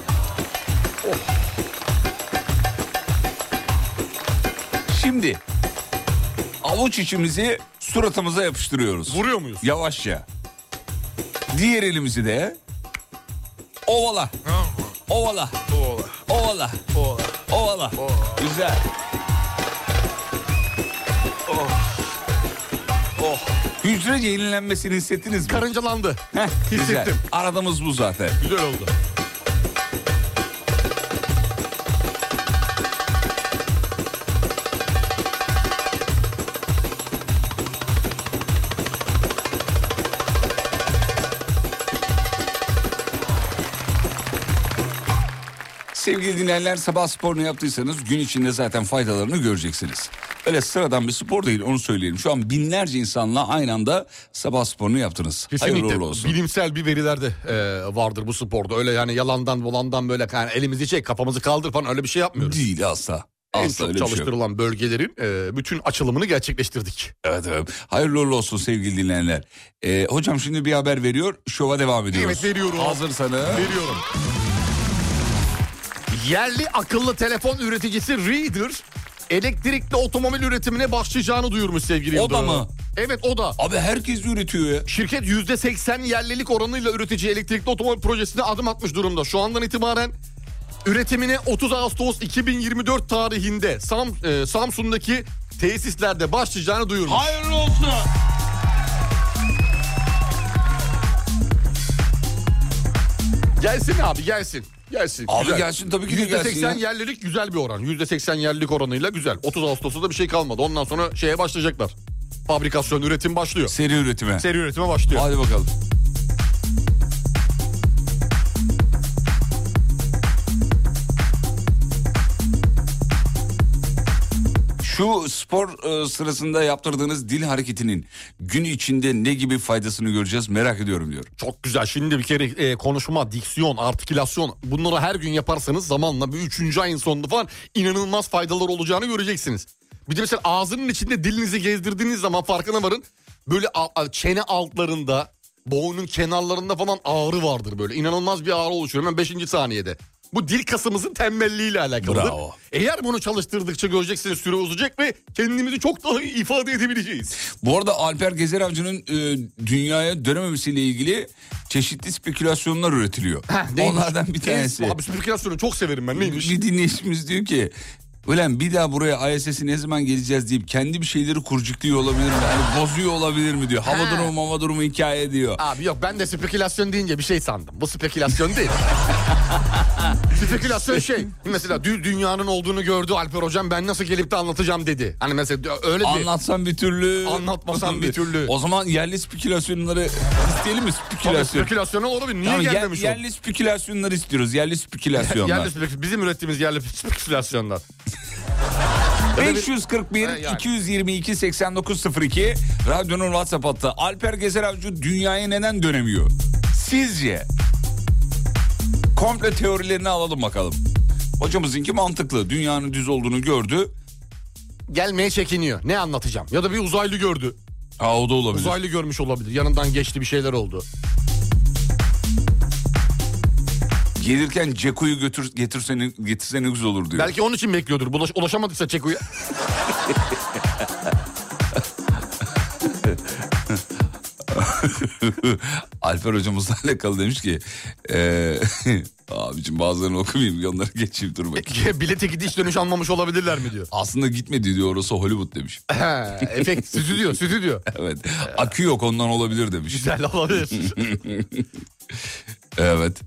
Speaker 4: Şimdi avuç içimizi suratımıza yapıştırıyoruz.
Speaker 5: Vuruyor muyuz?
Speaker 4: Yavaşça. Diğer elimizi de ovala. Ovala. Ovala. Ovala. Ovala. Güzel. Oh. Oh. Hücre yenilenmesini hissettiniz mi?
Speaker 5: Karıncalandı.
Speaker 4: Heh, güzel.
Speaker 5: Hissettim.
Speaker 4: Aradığımız bu zaten.
Speaker 5: Güzel oldu.
Speaker 4: Sevgili dinleyenler sabah sporunu yaptıysanız gün içinde zaten faydalarını göreceksiniz. Öyle sıradan bir spor değil onu söyleyelim. Şu an binlerce insanla aynı anda sabah sporunu yaptınız. Hayırlı uğurlu olsun.
Speaker 5: bilimsel bir verilerde e, vardır bu sporda. Öyle yani yalandan volandan böyle yani elimizi çek kafamızı kaldır falan öyle bir şey yapmıyoruz.
Speaker 4: Değil asla.
Speaker 5: En
Speaker 4: Asla öyle
Speaker 5: çok
Speaker 4: bir şey yok.
Speaker 5: çalıştırılan bölgelerin e, bütün açılımını gerçekleştirdik.
Speaker 4: Evet, evet. Hayırlı uğurlu olsun sevgili dinleyenler. Ee, hocam şimdi bir haber veriyor. Şova devam ediyoruz.
Speaker 5: Evet, veriyorum.
Speaker 4: Hazırsanız.
Speaker 5: Veriyorum. Yerli akıllı telefon üreticisi Reader elektrikli otomobil üretimine başlayacağını duyurmuş sevgili
Speaker 4: O
Speaker 5: Yıldırım.
Speaker 4: da mı?
Speaker 5: Evet o da.
Speaker 4: Abi herkes üretiyor ya.
Speaker 5: Şirket %80 yerlilik oranıyla üretici elektrikli otomobil projesine adım atmış durumda. Şu andan itibaren üretimine 30 Ağustos 2024 tarihinde Sam, e, Samsun'daki tesislerde başlayacağını duyurmuş.
Speaker 4: Hayırlı olsun.
Speaker 5: Gelsin abi gelsin. Gelsin.
Speaker 4: Abi gelsin tabii ki de gelsin ya.
Speaker 5: %80 yerlilik güzel bir oran. %80 yerlilik oranıyla güzel. 30 Ağustos'ta da bir şey kalmadı. Ondan sonra şeye başlayacaklar. Fabrikasyon üretim başlıyor.
Speaker 4: Seri üretime.
Speaker 5: Seri üretime başlıyor.
Speaker 4: Hadi bakalım. Şu spor e, sırasında yaptırdığınız dil hareketinin gün içinde ne gibi faydasını göreceğiz merak ediyorum diyor.
Speaker 5: Çok güzel. Şimdi bir kere e, konuşma, diksiyon, artikülasyon bunları her gün yaparsanız zamanla bir üçüncü ayın sonunda falan inanılmaz faydalar olacağını göreceksiniz. Bir de mesela ağzının içinde dilinizi gezdirdiğiniz zaman farkına varın. Böyle a- a- çene altlarında, boğunun kenarlarında falan ağrı vardır böyle. İnanılmaz bir ağrı oluşuyor hemen 5. saniyede. Bu dil kasımızın tembelliğiyle alakalıdır.
Speaker 4: Bravo.
Speaker 5: Eğer bunu çalıştırdıkça göreceksiniz süre uzayacak ve kendimizi çok daha iyi ifade edebileceğiz.
Speaker 4: Bu arada Alper Gezer Avcı'nın e, dünyaya dönememesiyle ilgili çeşitli spekülasyonlar üretiliyor.
Speaker 5: Neymiş?
Speaker 4: Onlardan bir tanesi.
Speaker 5: Abi spekülasyonu çok severim ben neymiş?
Speaker 4: Bir dinleyicimiz diyor ki Ulan bir daha buraya ISS'i ne zaman geleceğiz deyip kendi bir şeyleri kurcukluyor olabilir mi? Yani bozuyor olabilir mi diyor. Hava
Speaker 5: Ha.
Speaker 4: durumu hava durumu hikaye diyor.
Speaker 5: Abi yok ben de spekülasyon deyince bir şey sandım. Bu spekülasyon değil. spekülasyon şey. Mesela dü- dünyanın olduğunu gördü Alper hocam ben nasıl gelip de anlatacağım dedi. Hani mesela öyle bir
Speaker 4: Anlatsam bir türlü.
Speaker 5: Anlatmasam bir türlü.
Speaker 4: O zaman yerli spekülasyonları isteyelim mi?
Speaker 5: Tabii
Speaker 4: Spekülasyon.
Speaker 5: spekülasyon olabilir. Niye
Speaker 4: Tamam, yer-
Speaker 5: gelmemiş o?
Speaker 4: yerli spekülasyonları istiyoruz. Yerli spekülasyonlar.
Speaker 5: Yerli spekü- bizim ürettiğimiz yerli spekülasyonlar.
Speaker 4: 541
Speaker 5: He, yani.
Speaker 4: 222 8902 radyonun WhatsApp hattı. Alper Gezer Avcı dünyaya neden dönemiyor? Sizce? Komple teorilerini alalım bakalım. Hocamızınki mantıklı. Dünyanın düz olduğunu gördü.
Speaker 5: Gelmeye çekiniyor. Ne anlatacağım? Ya da bir uzaylı gördü.
Speaker 4: Aa o da olabilir.
Speaker 5: Uzaylı görmüş olabilir. Yanından geçti bir şeyler oldu.
Speaker 4: Gelirken Ceko'yu götür, getirseniz, getirseniz güzel olur diyor.
Speaker 5: Belki onun için bekliyordur. Bulaş- ulaşamadıksa Çeko'ya.
Speaker 4: Alper hocamızla alakalı demiş ki eee abicim bazılarını okumayayım onları geçeyim dur bakayım.
Speaker 5: Bilete gidiş dönüş almamış olabilirler mi diyor.
Speaker 4: Aslında gitmedi diyor orası Hollywood demiş.
Speaker 5: He, efekt stüdyo stüdyo.
Speaker 4: Evet. Akü yok ondan olabilir demiş.
Speaker 5: Güzel olabilir.
Speaker 4: Evet.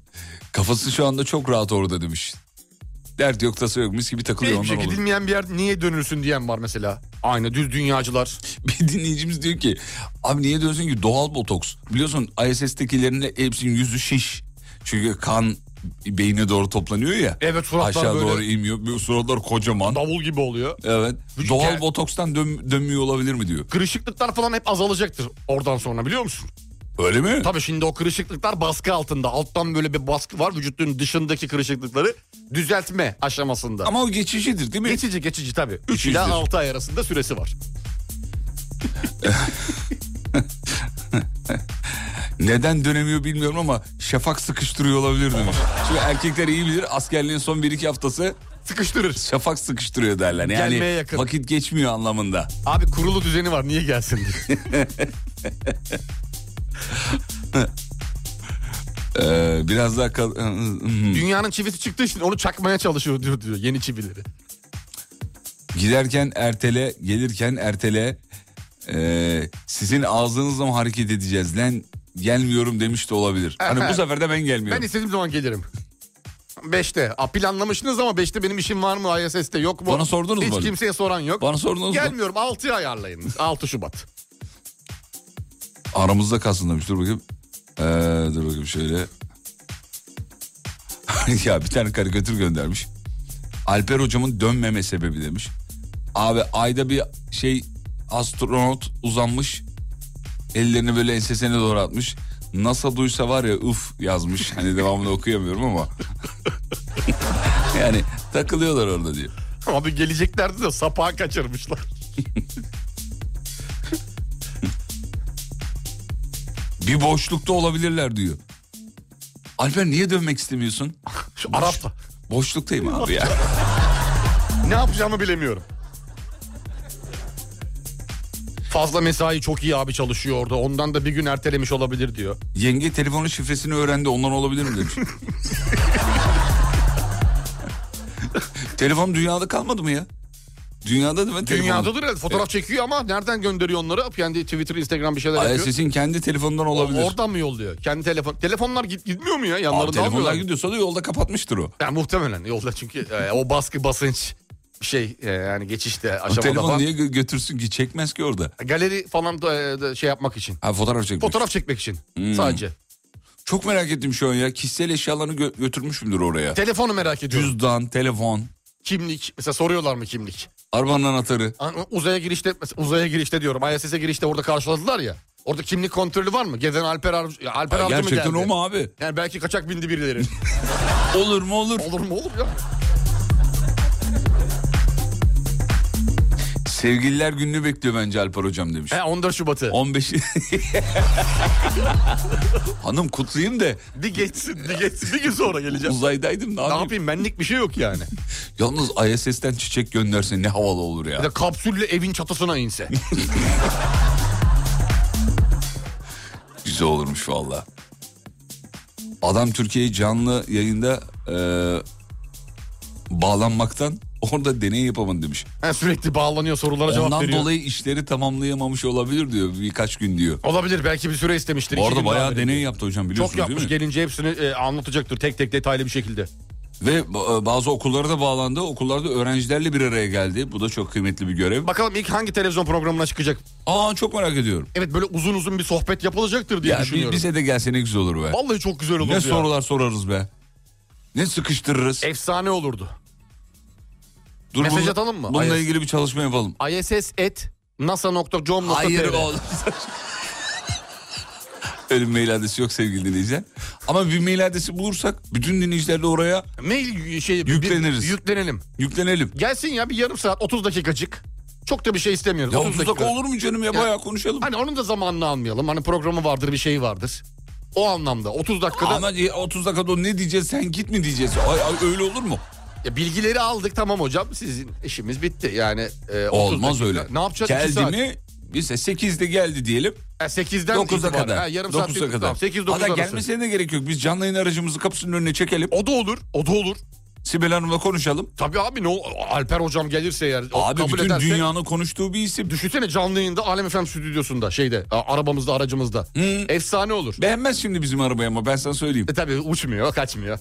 Speaker 4: Kafası şu anda çok rahat orada demiş. Dert yok tası yok mis gibi takılıyor
Speaker 5: Hiçbir
Speaker 4: ondan
Speaker 5: şey
Speaker 4: olur.
Speaker 5: gidilmeyen bir yer niye dönülsün diyen var mesela. Aynı düz dünyacılar.
Speaker 4: Bir dinleyicimiz diyor ki abi niye dönsün ki doğal botoks. Biliyorsun ISS'tekilerin hepsinin yüzü şiş. Çünkü kan beyne doğru toplanıyor ya.
Speaker 5: Evet, suratlar
Speaker 4: Aşağı
Speaker 5: E, böyle-
Speaker 4: doğru inmiyor. Bu Suratlar kocaman.
Speaker 5: Davul gibi oluyor.
Speaker 4: Evet.
Speaker 5: Vücut-
Speaker 4: Doğal
Speaker 5: yani-
Speaker 4: botokstan dön- dönmüyor olabilir mi diyor.
Speaker 5: Kırışıklıklar falan hep azalacaktır oradan sonra biliyor musun?
Speaker 4: Öyle mi?
Speaker 5: Tabii şimdi o kırışıklıklar baskı altında. Alttan böyle bir baskı var. Vücudun dışındaki kırışıklıkları düzeltme aşamasında.
Speaker 4: Ama o geçicidir değil mi?
Speaker 5: geçici geçici tabii. 3
Speaker 4: Geçicidir.
Speaker 5: ila 6 ay arasında süresi var.
Speaker 4: Neden dönemiyor bilmiyorum ama şafak sıkıştırıyor olabilir demiş. Çünkü erkekler iyi bilir askerliğin son 1-2 haftası
Speaker 5: Sıkıştırır.
Speaker 4: şafak sıkıştırıyor derler. Yani
Speaker 5: Gelmeye yakın.
Speaker 4: vakit geçmiyor anlamında.
Speaker 5: Abi kurulu düzeni var niye gelsin diye.
Speaker 4: Ee, biraz daha kal- Hmm.
Speaker 5: Dünyanın çivisi çıktığı için onu çakmaya çalışıyor diyor, diyor yeni çivileri.
Speaker 4: giderken ertele, gelirken ertele. Ee, sizin ağzınızla mı hareket edeceğiz lan? Gelmiyorum demiş de olabilir. Hani bu sefer de ben
Speaker 5: Ben
Speaker 4: gelmiyorum.
Speaker 5: istediğim zaman gelirim. 5'te. A, planlamışsınız ama 5'te benim işim var mı? ISS'te yok mu?
Speaker 4: Bana sordunuz
Speaker 5: Hiç
Speaker 4: mu?
Speaker 5: kimseye soran yok.
Speaker 4: Bana sordunuz mu?
Speaker 5: Gelmiyorum 6'ya ayarlayın. 6 Şubat.
Speaker 4: Aramızda kalsın demiş. Dur bakayım. Ee, dur bakayım şöyle. ya bir tane karikatür göndermiş. Alper hocamın dönmeme sebebi demiş. Abi ayda bir şey astronot uzanmış. Ellerini böyle ensesine doğru atmış. NASA duysa var ya uf yazmış. Hani devamını okuyamıyorum ama. yani takılıyorlar orada diyor.
Speaker 5: Abi geleceklerdi de sapağı kaçırmışlar.
Speaker 4: Bir boşlukta olabilirler diyor. Alper niye dönmek istemiyorsun?
Speaker 5: Şu Arap'la.
Speaker 4: Boşluktayım abi ya.
Speaker 5: Ne yapacağımı bilemiyorum. Fazla mesai çok iyi abi çalışıyor orada. Ondan da bir gün ertelemiş olabilir diyor.
Speaker 4: Yenge telefonun şifresini öğrendi ondan olabilir mi demiş. Telefon dünyada kalmadı mı ya? Dünyada değil mi telefon?
Speaker 5: Dünyadadır evet. Fotoğraf
Speaker 4: E-
Speaker 5: çekiyor ama nereden gönderiyor onları? Kendi Twitter, Instagram bir şeyler yapıyor.
Speaker 4: ISS'in kendi telefonundan
Speaker 5: O-
Speaker 4: olabilir.
Speaker 5: Oradan mı yolluyor? Kendi telefon. Telefonlar git, gitmiyor mu ya?
Speaker 4: Aa,
Speaker 5: Yanlarında
Speaker 4: telefonlar
Speaker 5: almıyorlar.
Speaker 4: gidiyorsa da yolda kapatmıştır o.
Speaker 5: Yani muhtemelen yolda çünkü e, o baskı basınç şey e, yani geçişte
Speaker 4: O
Speaker 5: aşamada
Speaker 4: telefon
Speaker 5: falan.
Speaker 4: niye gö- götürsün ki çekmez ki orada.
Speaker 5: Galeri falan da, e, da şey yapmak için.
Speaker 4: Ha fotoğraf çekmiş.
Speaker 5: Fotoğraf çekmek için
Speaker 4: Hmm.
Speaker 5: sadece.
Speaker 4: Çok merak ettim şu an ya. Kişisel eşyalarını gö- götürmüş müdür oraya?
Speaker 5: Telefonu merak ediyorum.
Speaker 4: Cüzdan, telefon,
Speaker 5: Kimlik. Mesela soruyorlar mı kimlik?
Speaker 4: arabanın anahtarı.
Speaker 5: An- Uzaya girişte mesela uzaya girişte diyorum. ISS'e girişte orada karşıladılar ya. Orada kimlik kontrolü var mı? Gezen Alper Ar- ya Alper
Speaker 4: Ya
Speaker 5: Avcı mı geldi?
Speaker 4: gerçekten o mu abi?
Speaker 5: Yani belki kaçak bindi birileri.
Speaker 4: Olur mu olur.
Speaker 5: olur mu olur ya?
Speaker 4: Sevgililer gününü bekliyor bence Alper hocam demiş.
Speaker 5: He 14 Şubat'ı.
Speaker 4: 15 Hanım kutlayayım da
Speaker 5: Bir geçsin, bir geçsin. Bir gün sonra geleceğim.
Speaker 4: uzaydaydım ne
Speaker 5: ne
Speaker 4: yapayım?
Speaker 5: yapayım? Benlik bir şey yok yani.
Speaker 4: Yalnız ISS'ten çiçek gönderse ne havalı olur
Speaker 5: Bir
Speaker 4: ya.
Speaker 5: de kapsülle evin çatısına inse.
Speaker 4: Güzel olurmuş valla. Adam Türkiye'yi canlı yayında e, bağlanmaktan orada deney yapamadı demiş.
Speaker 5: Ha, sürekli bağlanıyor sorulara cevap
Speaker 4: Ondan
Speaker 5: veriyor.
Speaker 4: dolayı işleri tamamlayamamış olabilir diyor birkaç gün diyor.
Speaker 5: Olabilir belki bir süre istemiştir.
Speaker 4: Bu
Speaker 5: iki
Speaker 4: arada
Speaker 5: gün daha
Speaker 4: bayağı
Speaker 5: verin
Speaker 4: deney
Speaker 5: diye.
Speaker 4: yaptı hocam biliyorsunuz
Speaker 5: Çok yapmış
Speaker 4: değil mi?
Speaker 5: gelince hepsini e, anlatacaktır tek tek detaylı bir şekilde.
Speaker 4: Ve e, bazı okullara da bağlandı. Okullarda öğrencilerle bir araya geldi. Bu da çok kıymetli bir görev.
Speaker 5: Bakalım ilk hangi televizyon programına çıkacak?
Speaker 4: Aa çok merak ediyorum.
Speaker 5: Evet böyle uzun uzun bir sohbet yapılacaktır diye
Speaker 4: Ya bi-
Speaker 5: düşünüyorum.
Speaker 4: bize de gelse ne güzel olur be.
Speaker 5: Vallahi çok güzel olurdu
Speaker 4: Ne
Speaker 5: ya.
Speaker 4: sorular sorarız be. Ne sıkıştırırız.
Speaker 5: Efsane olurdu.
Speaker 4: Dur,
Speaker 5: Mesaj
Speaker 4: bununla-
Speaker 5: atalım mı?
Speaker 4: Bununla
Speaker 5: Hayır.
Speaker 4: ilgili bir çalışma yapalım.
Speaker 5: ISS et nasa.com.tr
Speaker 4: Hayır oğlum. Öyle bir mail adresi yok sevgili dinleyiciler. Ama bir mail adresi bulursak bütün dinleyicilerle oraya
Speaker 5: Mail şey bir-
Speaker 4: Yükleniriz.
Speaker 5: yüklenelim.
Speaker 4: yüklenelim.
Speaker 5: Gelsin ya bir yarım saat 30 dakikacık. Çok da bir şey istemiyoruz.
Speaker 4: Ya
Speaker 5: 30
Speaker 4: 30 dakika olur mu canım ya, bayağı konuşalım.
Speaker 5: Hani onun da zamanını almayalım. Hani programı vardır bir şey vardır. O anlamda 30 dakikada
Speaker 4: Ama ya 30 dakikada o ne diyeceğiz sen git mi diyeceğiz. Ay, ay, öyle olur mu?
Speaker 5: Ya bilgileri aldık tamam hocam sizin işimiz bitti. Yani e, 30
Speaker 4: Olmaz
Speaker 5: dakika-
Speaker 4: öyle.
Speaker 5: Ne yapacağız? İki
Speaker 4: Geldi
Speaker 5: saat.
Speaker 4: mi? Biz 8'de geldi diyelim.
Speaker 5: Ha, 8'den
Speaker 4: 9'a
Speaker 5: itibaren.
Speaker 4: kadar.
Speaker 5: Ha, yarım
Speaker 4: 9'a
Speaker 5: saat
Speaker 4: kadar.
Speaker 5: kadar. 8 9
Speaker 4: Hatta
Speaker 5: arası.
Speaker 4: gelmesine de gerek yok. Biz canlı yayın aracımızı kapısının önüne çekelim.
Speaker 5: O da olur. O da olur.
Speaker 4: Sibel Hanım'la konuşalım.
Speaker 5: Tabii abi ne ol- Alper hocam gelirse eğer o
Speaker 4: Abi
Speaker 5: kabul
Speaker 4: bütün
Speaker 5: ederse.
Speaker 4: dünyanın konuştuğu bir isim.
Speaker 5: Düşünsene canlı yayında Alem Efem stüdyosunda şeyde a- arabamızda aracımızda. Efsane olur.
Speaker 4: Beğenmez şimdi bizim arabayı ama ben sana söyleyeyim.
Speaker 5: E tabii uçmuyor kaçmıyor.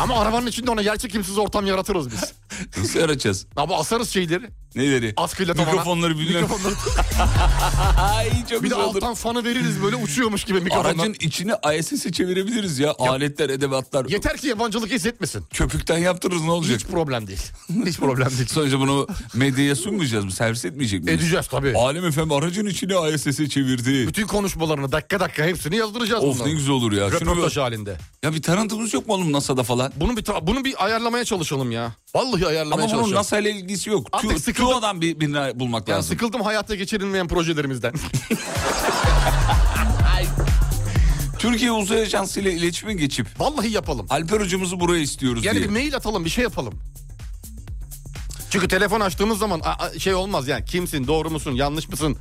Speaker 5: Ama arabanın içinde ona gerçek kimsiz ortam yaratırız biz.
Speaker 4: Nasıl arayacağız?
Speaker 5: Abi asarız şeyleri.
Speaker 4: Neleri?
Speaker 5: Askıyla tavana.
Speaker 4: Mikrofonları bilmem.
Speaker 5: Mikrofonları-
Speaker 4: Ay çok
Speaker 5: Bir de
Speaker 4: güzel olur.
Speaker 5: alttan fanı veririz böyle uçuyormuş gibi mikrofondan.
Speaker 4: Aracın içini ISS'e çevirebiliriz ya. Aletler, edevatlar.
Speaker 5: Yeter ki yabancılık hissetmesin.
Speaker 4: Köpükten yaptırırız ne olacak?
Speaker 5: Hiç problem değil. Hiç problem değil.
Speaker 4: Sonuçta bunu medyaya sunmayacağız mı? Servis etmeyecek miyiz?
Speaker 5: Edeceğiz tabii.
Speaker 4: Alem efendim aracın içini ISS'e çevirdi.
Speaker 5: Bütün konuşmalarını dakika dakika hepsini yazdıracağız
Speaker 4: Of
Speaker 5: bundan.
Speaker 4: ne güzel olur ya. Şunu
Speaker 5: Röportaj
Speaker 4: bir-
Speaker 5: halinde.
Speaker 4: ya bir tarantımız yok mu oğlum NASA'da falan?
Speaker 5: Bunu bir ta- bunu bir ayarlamaya çalışalım ya. Vallahi ayarlamaya
Speaker 4: Ama bunun
Speaker 5: çalışalım.
Speaker 4: NASA ile ilgisi yok.
Speaker 5: Artık
Speaker 4: Artık
Speaker 5: sıkıldım.
Speaker 4: TÜO'dan bir birini bulmak
Speaker 5: Ya
Speaker 4: lazım.
Speaker 5: sıkıldım hayatta geçirilmeyen projelerimizden.
Speaker 4: Türkiye Uzay Ajansı ile iletişime geçip
Speaker 5: Vallahi yapalım.
Speaker 4: Alper hocamızı buraya istiyoruz
Speaker 5: Yani
Speaker 4: diye.
Speaker 5: bir mail atalım, bir şey yapalım. Çünkü telefon açtığımız zaman a- a- şey olmaz yani kimsin, doğru musun, yanlış mısın?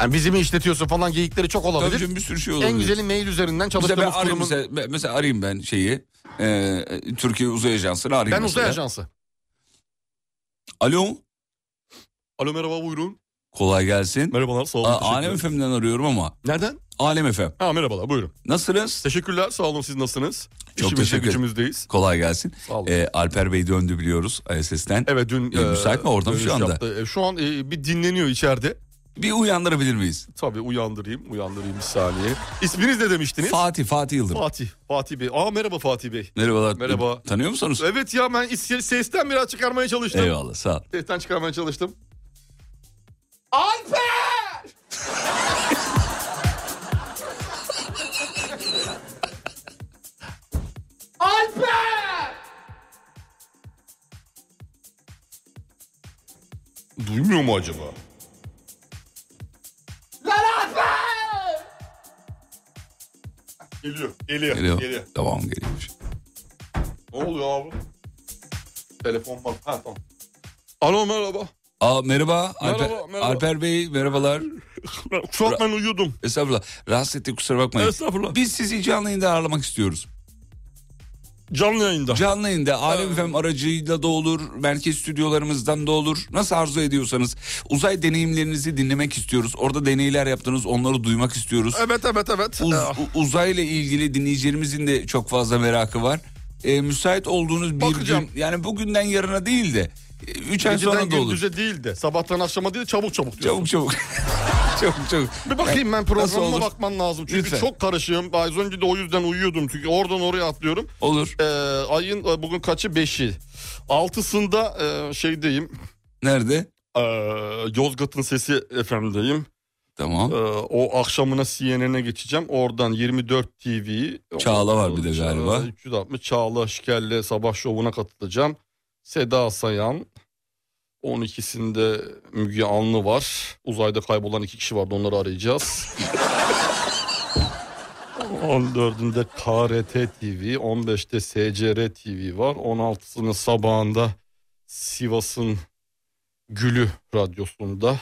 Speaker 5: Yani bizi mi işletiyorsun falan geyikleri çok
Speaker 4: Tabii
Speaker 5: olabilir.
Speaker 4: canım, bir sürü şey olabilir.
Speaker 5: en güzeli mail üzerinden
Speaker 4: Mesela ben
Speaker 5: çalıştığımız
Speaker 4: arayayım
Speaker 5: kurumun...
Speaker 4: mesela, ben- mesela arayayım ben şeyi. e, Türkiye Uzay Ajansı'nı arayayım
Speaker 5: Ben uzay
Speaker 4: mesela.
Speaker 5: ajansı.
Speaker 4: Alo.
Speaker 5: Alo merhaba buyurun.
Speaker 4: Kolay gelsin.
Speaker 5: Merhabalar sağ
Speaker 4: A- Alem FM'den arıyorum ama.
Speaker 5: Nereden?
Speaker 4: Alem FM.
Speaker 5: Ha merhabalar buyurun.
Speaker 4: Nasılsınız?
Speaker 5: Teşekkürler sağ olun siz nasılsınız?
Speaker 4: Çok teşekkür ederim.
Speaker 5: gücümüzdeyiz.
Speaker 4: Kolay gelsin.
Speaker 5: Sağ olun.
Speaker 4: E, Alper Bey döndü biliyoruz ISS'ten.
Speaker 5: Evet dün...
Speaker 4: E, müsait mi orada mı şu
Speaker 5: dönüş
Speaker 4: anda?
Speaker 5: yaptı. E, şu an e, bir dinleniyor içeride.
Speaker 4: Bir uyandırabilir miyiz?
Speaker 5: Tabii uyandırayım, uyandırayım bir saniye. İsminiz ne demiştiniz?
Speaker 4: Fatih, Fatih Yıldırım.
Speaker 5: Fatih. Fatih Bey. Aa merhaba Fatih Bey.
Speaker 4: Merhabalar.
Speaker 5: Merhaba.
Speaker 4: Tanıyor musunuz?
Speaker 5: Evet ya ben is- sesten biraz çıkarmaya çalıştım.
Speaker 4: Eyvallah sağ ol.
Speaker 5: Sesten çıkarmaya çalıştım. Alper! Alper! Duymuyor mu acaba? Geliyor, geliyor,
Speaker 4: Geliyor.
Speaker 5: geliyor.
Speaker 4: Tamam geliyormuş.
Speaker 5: Ne oluyor abi? Telefon var. Ha tamam. Alo merhaba.
Speaker 4: Aa, merhaba, Alper,
Speaker 5: merhaba.
Speaker 4: Alper Bey merhabalar.
Speaker 5: Şu an ben uyudum.
Speaker 4: Estağfurullah. Rahatsız ettik kusura bakmayın.
Speaker 5: Estağfurullah.
Speaker 4: Biz sizi canlı yayında ağırlamak istiyoruz.
Speaker 5: Canlı yayında.
Speaker 4: Canlı yayında Alem FM aracıyla da olur, merkez stüdyolarımızdan da olur. Nasıl arzu ediyorsanız uzay deneyimlerinizi dinlemek istiyoruz. Orada deneyler yaptınız, onları duymak istiyoruz.
Speaker 5: Evet evet evet.
Speaker 4: Uz,
Speaker 5: Ee,
Speaker 4: u- uzayla ilgili dinleyicilerimizin de çok fazla merakı var. Ee, müsait olduğunuz bir
Speaker 5: Bakacağım.
Speaker 4: gün, yani bugünden yarına değil de 3 ay
Speaker 5: Geceden
Speaker 4: sonra da olur.
Speaker 5: gündüze değil de sabahtan akşama değil de çabuk çabuk diyorsun.
Speaker 4: Çabuk çabuk. çabuk çabuk.
Speaker 5: Bir bakayım ben
Speaker 4: Nasıl olur?
Speaker 5: programıma bakman lazım. Çünkü
Speaker 4: Lütfen.
Speaker 5: çok karışığım. Az önce de o yüzden uyuyordum. Çünkü oradan oraya atlıyorum.
Speaker 4: Olur.
Speaker 5: Ee, ayın e, bugün kaçı? Beşi. Altısında e, şeydeyim.
Speaker 4: Nerede?
Speaker 5: Ee, Yozgat'ın Sesi FM'deyim.
Speaker 4: Tamam.
Speaker 5: Ee, o akşamına CNN'e geçeceğim. Oradan 24 TV'yi.
Speaker 4: Çağla var bir de galiba.
Speaker 5: 360 Çağla Şiker'le sabah şovuna katılacağım. Seda Sayan. 12'sinde Müge Anlı var. Uzayda kaybolan iki kişi vardı onları arayacağız. 14'ünde KRT TV, 15'te SCR TV var. 16'sının sabahında Sivas'ın Gülü radyosunda.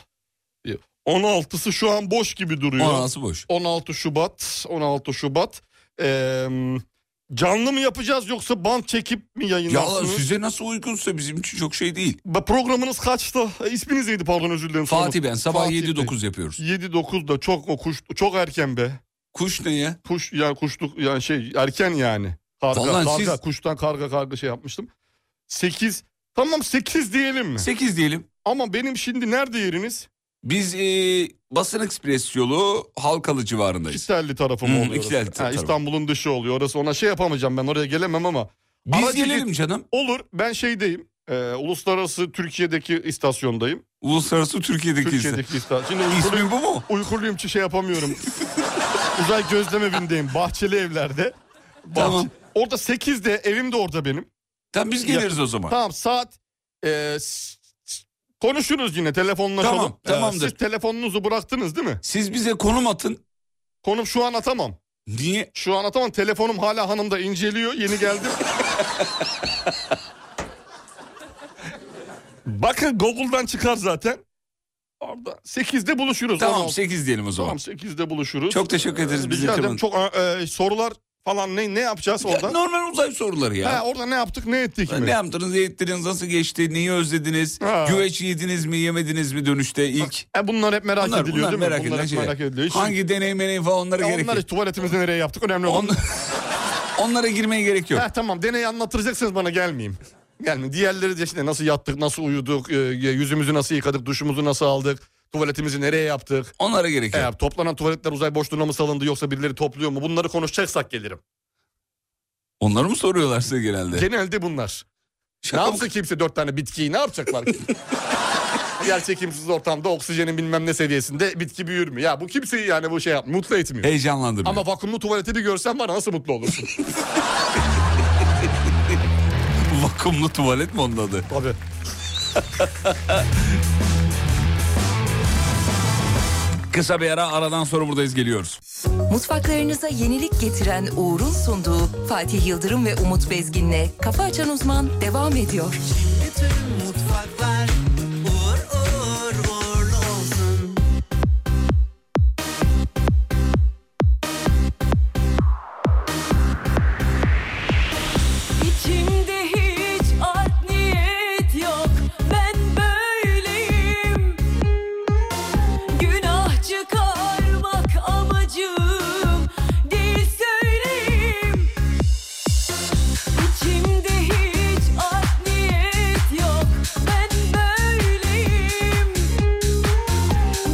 Speaker 5: 16'sı şu an boş gibi duruyor.
Speaker 4: Anası boş.
Speaker 5: 16 Şubat, 16 Şubat. Eee, canlı mı yapacağız yoksa band çekip mi
Speaker 4: Ya
Speaker 5: yayınlarsınız?
Speaker 4: size nasıl uygunsa bizim için çok şey değil.
Speaker 5: Ba- Programınız kaçtı? E, İsminiz neydi pardon özür dilerim.
Speaker 4: Fatih ben sabah
Speaker 5: Fatih
Speaker 4: 7-9 yapıyoruz.
Speaker 5: 7 9 da çok o kuş çok erken be.
Speaker 4: Kuş ne ya?
Speaker 5: Kuş yani kuşluk yani şey erken yani. Karga
Speaker 4: Vallahi
Speaker 5: karga
Speaker 4: siz-
Speaker 5: kuştan karga karga şey yapmıştım. 8 Tamam 8 diyelim mi?
Speaker 4: 8 diyelim.
Speaker 5: Ama benim şimdi nerede yeriniz?
Speaker 4: Biz e, Basın Ekspres yolu Halkalı civarındayız.
Speaker 5: İkitelli tarafı mı
Speaker 4: Hmm,
Speaker 5: oluyor?
Speaker 4: İkitelli
Speaker 5: orası? Ha,
Speaker 4: tarafı.
Speaker 5: İstanbul'un dışı oluyor. Orası ona şey yapamayacağım ben oraya gelemem ama
Speaker 4: Biz
Speaker 5: Ara
Speaker 4: gelelim
Speaker 5: gece-
Speaker 4: canım.
Speaker 5: Olur ben şeydeyim. Ee, uluslararası Türkiye'deki istasyondayım.
Speaker 4: Uluslararası Türkiye'deki, Türkiye'deki.
Speaker 5: Türkiye'deki istasyon. Şimdi
Speaker 4: İsmi
Speaker 5: uykuluyum,
Speaker 4: bu mu?
Speaker 5: uykuluyum şey yapamıyorum. Uzay gözlem evindeyim. Bahçeli evlerde. Bahçe-
Speaker 4: Tamam.
Speaker 5: Orada 8'de evim de orada benim.
Speaker 4: Tamam biz geliriz o zaman.
Speaker 5: Tamam saat e, s- s- konuşuruz yine telefonlaşalım.
Speaker 4: Tamam,
Speaker 5: Ee,
Speaker 4: tamamdır.
Speaker 5: siz telefonunuzu bıraktınız değil mi?
Speaker 4: Siz bize konum atın.
Speaker 5: Konum şu an atamam.
Speaker 4: Niye?
Speaker 5: Şu an atamam. Telefonum hala hanımda inceliyor. Yeni geldim. Bakın Google'dan çıkar zaten. Orada 8'de buluşuruz.
Speaker 4: Tamam
Speaker 5: 16.
Speaker 4: 8 diyelim o
Speaker 5: Tamam
Speaker 4: zaman.
Speaker 5: 8'de buluşuruz.
Speaker 4: Çok teşekkür ederiz bizi
Speaker 5: Rica ederim.
Speaker 4: kırmadığınız-
Speaker 5: Çok e, sorular falan ne ne yapacağız
Speaker 4: Ya,
Speaker 5: orada?
Speaker 4: normal uzay soruları ya.
Speaker 5: Ha, orada ne yaptık ne ettik mi?
Speaker 4: Ne yaptınız, ne ettiniz, nasıl geçti, neyi özlediniz,
Speaker 5: Ha.
Speaker 4: güveç yediniz mi, yemediniz mi dönüşte ilk?
Speaker 5: E, bunlar hep merak
Speaker 4: Bunlar,
Speaker 5: ediliyor
Speaker 4: bunlar
Speaker 5: değil mi?
Speaker 4: merak
Speaker 5: bunlar
Speaker 4: edilen
Speaker 5: hep
Speaker 4: şeyler.
Speaker 5: merak ediliyor. Hiç-
Speaker 4: Hangi deney meney falan onlara
Speaker 5: Ya
Speaker 4: gerek
Speaker 5: onlar
Speaker 4: yok.
Speaker 5: hiç tuvaletimizi nereye yaptık önemli olan.
Speaker 4: On- onlara girmeye gerek yok.
Speaker 5: Heh, tamam deneyi anlatacaksanız bana gelmeyeyim. Gelmeyin. Diğerleri de işte nasıl yattık, nasıl uyuduk, e, yüzümüzü nasıl yıkadık, duşumuzu nasıl aldık, tuvaletimizi nereye yaptık.
Speaker 4: Onlara gerek yok.
Speaker 5: E, toplanan tuvaletler uzay boşluğuna mı salındı yoksa birileri topluyor mu? Bunları konuşacaksak gelirim.
Speaker 4: Onları mı soruyorlar size genelde?
Speaker 5: Genelde bunlar.
Speaker 4: Şaka
Speaker 5: ne
Speaker 4: mı?
Speaker 5: yapsın kimse dört tane bitkiyi ne yapacaklar ki? Yerçekimsiz ortamda oksijenin bilmem ne seviyesinde bitki büyür mü? Ya bu kimseyi yani bu şey yap, mutlu etmiyor.
Speaker 4: Heyecanlandım.
Speaker 5: Ama vakumlu tuvaleti bir görsen bana nasıl mutlu olursun?
Speaker 4: Vakumlu tuvalet mi onun adı?
Speaker 5: Tabii.
Speaker 4: Kısa bir ara aradan sonra buradayız geliyoruz.
Speaker 1: Mutfaklarınıza yenilik getiren Uğur'un sunduğu Fatih Yıldırım ve Umut Bezgin'le Kafa Açan Uzman devam ediyor.
Speaker 2: Tüm mutfaklar uğur uğur uğurlu olsun.
Speaker 11: İçimde hiç art niyet yok Ben böyleyim Günah çıkarmak amacım Değil söyleyeyim İçimde hiç art niyet yok Ben böyleyim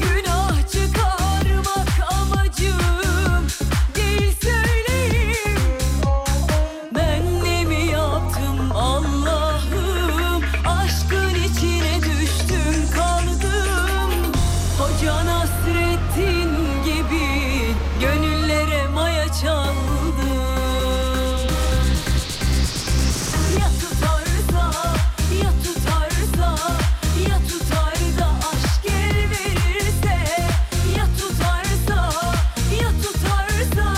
Speaker 11: Günah çıkarmak amacım Değil söyleyeyim ben ne mi yaptım Allah'ım Aşkın içine düştüm kaldım Hoca Nasrettin gibi Gönüllere maya çaldım Ya tutarsa, ya tutarsa Ya tutar da aşk el verirse Ya tutarsa, ya tutarsa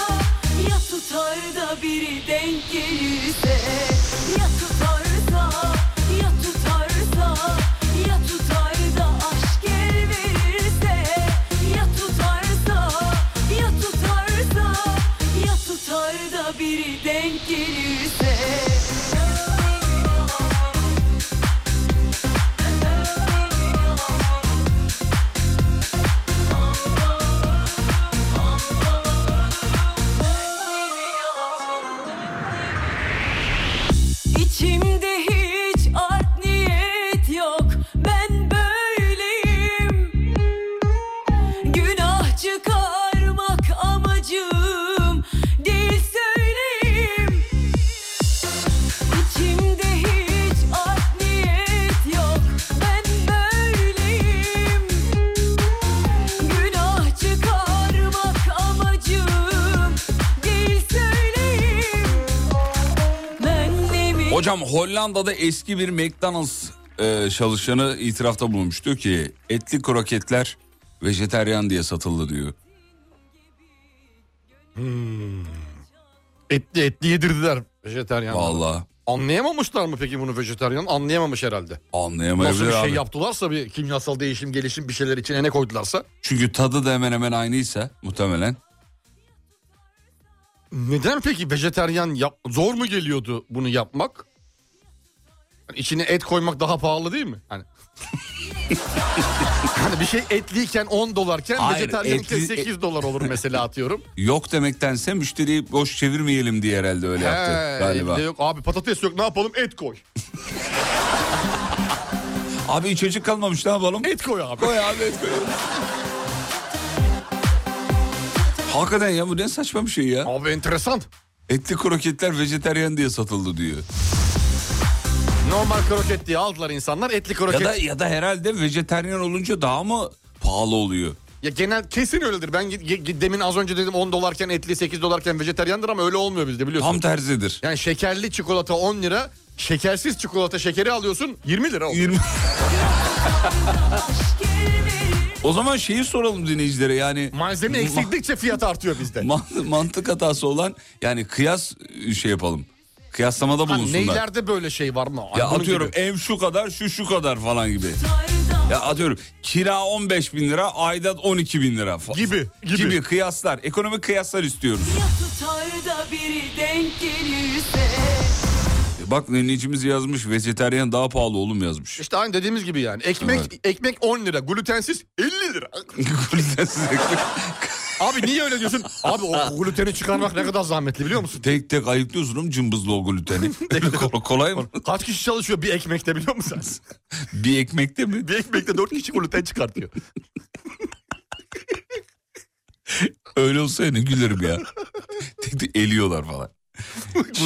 Speaker 11: Ya tutar da biri denk gelirse Ya tutarsa, ya tutarsa Ya tutar da aşk el verirse Ya tutarsa, ya tutarsa Ya tutar da biri denk gelirse İçimde hiç art niyet yok Ben böyleyim Günah çıkarmak amacım Değil söyleyeyim İçimde hiç art niyet yok Ben böyleyim Günah çıkarmak amacım Değil söyleyeyim Ben ne mi
Speaker 4: Hocam Hollanda'da eski bir McDonald's e, çalışanı itirafta bulunmuş. Diyor ki etli kroketler vejeteryan diye satıldı diyor.
Speaker 5: Etli etli yedirdiler vejeteryan.
Speaker 4: Vallahi
Speaker 5: Anlayamamışlar mı peki bunu vejeteryan? Anlayamamış herhalde. Nasıl
Speaker 4: anlayamayabilir
Speaker 5: bir şey
Speaker 4: abi.
Speaker 5: yaptılarsa bir kimyasal değişim gelişim bir şeyler içine ne koydularsa.
Speaker 4: Çünkü tadı da hemen hemen aynıysa muhtemelen.
Speaker 5: Neden peki vejeteryan yap zor mu geliyordu bunu yapmak? Hani içine et koymak daha pahalı değil mi? Hani Hani bir şey etliyken 10 dolarken
Speaker 4: Hayır,
Speaker 5: vejeteryanken
Speaker 4: etli-
Speaker 5: 8 dolar olur mesela atıyorum.
Speaker 4: Yok demektense müşteriyi boş çevirmeyelim diye herhalde öyle yaptı
Speaker 5: He,
Speaker 4: galiba.
Speaker 5: evde yok abi patates yok ne yapalım et koy.
Speaker 4: Abi içecek kalmamış ne yapalım?
Speaker 5: Et koy abi.
Speaker 4: Koy abi et koy. Hakikaten ya bu ne saçma bir şey ya.
Speaker 5: Abi enteresan.
Speaker 4: Etli kroketler vejeteryan diye satıldı diyor.
Speaker 5: Normal kroket diye aldılar insanlar etli kroket.
Speaker 4: Ya da ya da herhalde vejeteryan olunca daha mı pahalı oluyor?
Speaker 5: Ya genel kesin öyledir. Ben ge- ge- demin az önce dedim 10 dolarken etli 8 dolarken vejeteryandır ama öyle olmuyor bizde biliyorsun.
Speaker 4: Tam tersidir.
Speaker 5: Yani şekerli çikolata 10 lira, şekersiz çikolata şekeri alıyorsun 20 lira. oldu.
Speaker 4: 20. o zaman şeyi soralım dinleyicilere yani
Speaker 5: Malzeme eksiklikçe fiyat artıyor bizde.
Speaker 4: man- mantık hatası olan yani kıyas e, şey yapalım. Kıyaslamada
Speaker 5: Hani
Speaker 4: bulunsunlar.
Speaker 5: neylerde böyle şey var mı? Ay
Speaker 4: Ya
Speaker 5: bunun
Speaker 4: atıyorum
Speaker 5: gibi.
Speaker 4: ev şu kadar şu şu kadar falan gibi. Ya atıyorum kira 15 bin lira aidat 12 bin lira. fa-
Speaker 5: Gibi, gibi.
Speaker 4: kıyaslar ekonomik kıyaslar istiyoruz.
Speaker 11: Ya tutar da biri denk gelirse
Speaker 4: E Bak dinleyicimiz yazmış vejeteryan daha pahalı oğlum yazmış.
Speaker 5: İşte aynı dediğimiz gibi yani. Ekmek ekmek 10 lira, glutensiz 50 lira.
Speaker 4: Glutensiz ekmek.
Speaker 5: Abi niye öyle diyorsun? Abi o gluteni çıkarmak ne kadar zahmetli biliyor musun?
Speaker 4: tek tek ayıklıyorsun oğlum cımbızlı o gluteni. Kol- kolay mı?
Speaker 5: Kaç kişi çalışıyor bir ekmekte biliyor musun? sen?
Speaker 4: Bir ekmekte mi?
Speaker 5: bir ekmekte 4 kişi gluten çıkartıyor.
Speaker 4: Öyle olsa yani gülerim ya. tek tek eliyorlar falan.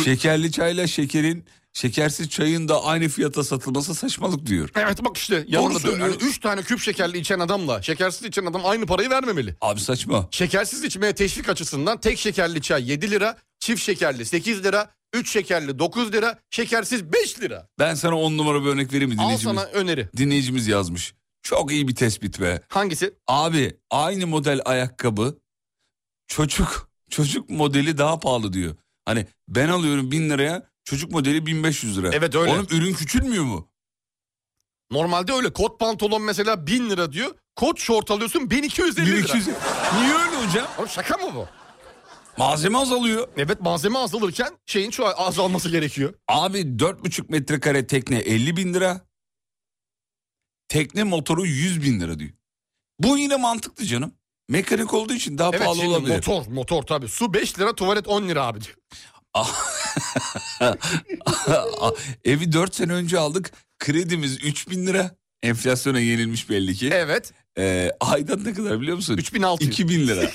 Speaker 4: Şekerli çayla şekerin şekersiz çayın da aynı fiyata satılması saçmalık diyor.
Speaker 5: Evet bak işte
Speaker 4: Doğru
Speaker 5: yanında dön.
Speaker 4: söylüyor.
Speaker 5: Yani üç tane küp şekerli içen adamla şekersiz içen adam aynı parayı vermemeli.
Speaker 4: Abi saçma.
Speaker 5: Şekersiz içmeye teşvik açısından tek şekerli çay 7 lira, çift şekerli 8 lira, 3 şekerli 9 lira, şekersiz 5 lira.
Speaker 4: Ben sana on numara bir örnek vereyim mi
Speaker 5: Al
Speaker 4: dinleyicimiz?
Speaker 5: sana öneri.
Speaker 4: Dinleyicimiz yazmış. Çok iyi bir tespit be.
Speaker 5: Hangisi?
Speaker 4: Abi aynı model ayakkabı çocuk çocuk modeli daha pahalı diyor. Hani ben alıyorum bin liraya çocuk modeli 1500 lira.
Speaker 5: Evet, öyle.
Speaker 4: Oğlum ürün küçülmüyor mu?
Speaker 5: Normalde öyle kot pantolon mesela 1000 lira diyor. Kot şort alıyorsun 1250 lira.
Speaker 4: 1200. Niye öyle hocam?
Speaker 5: Oğlum şaka mı bu?
Speaker 4: Malzeme azalıyor.
Speaker 5: Evet malzeme azalırken şeyin şu azalması gerekiyor.
Speaker 4: Abi 4,5 metrekare tekne 50 bin lira. Tekne motoru 100 bin lira diyor. Bu yine mantıklı canım. Mekanik olduğu için daha
Speaker 5: Evet
Speaker 4: pahalı
Speaker 5: şimdi
Speaker 4: olabilir.
Speaker 5: motor motor tabii. Su 5 lira tuvalet 10 lira abi diyor.
Speaker 4: Evi 4 sene önce aldık. Kredimiz 3000 lira. Enflasyona yenilmiş belli ki.
Speaker 5: Evet
Speaker 4: Ee, aidat ne kadar biliyor musun?
Speaker 5: 3600.
Speaker 4: 2000 lira.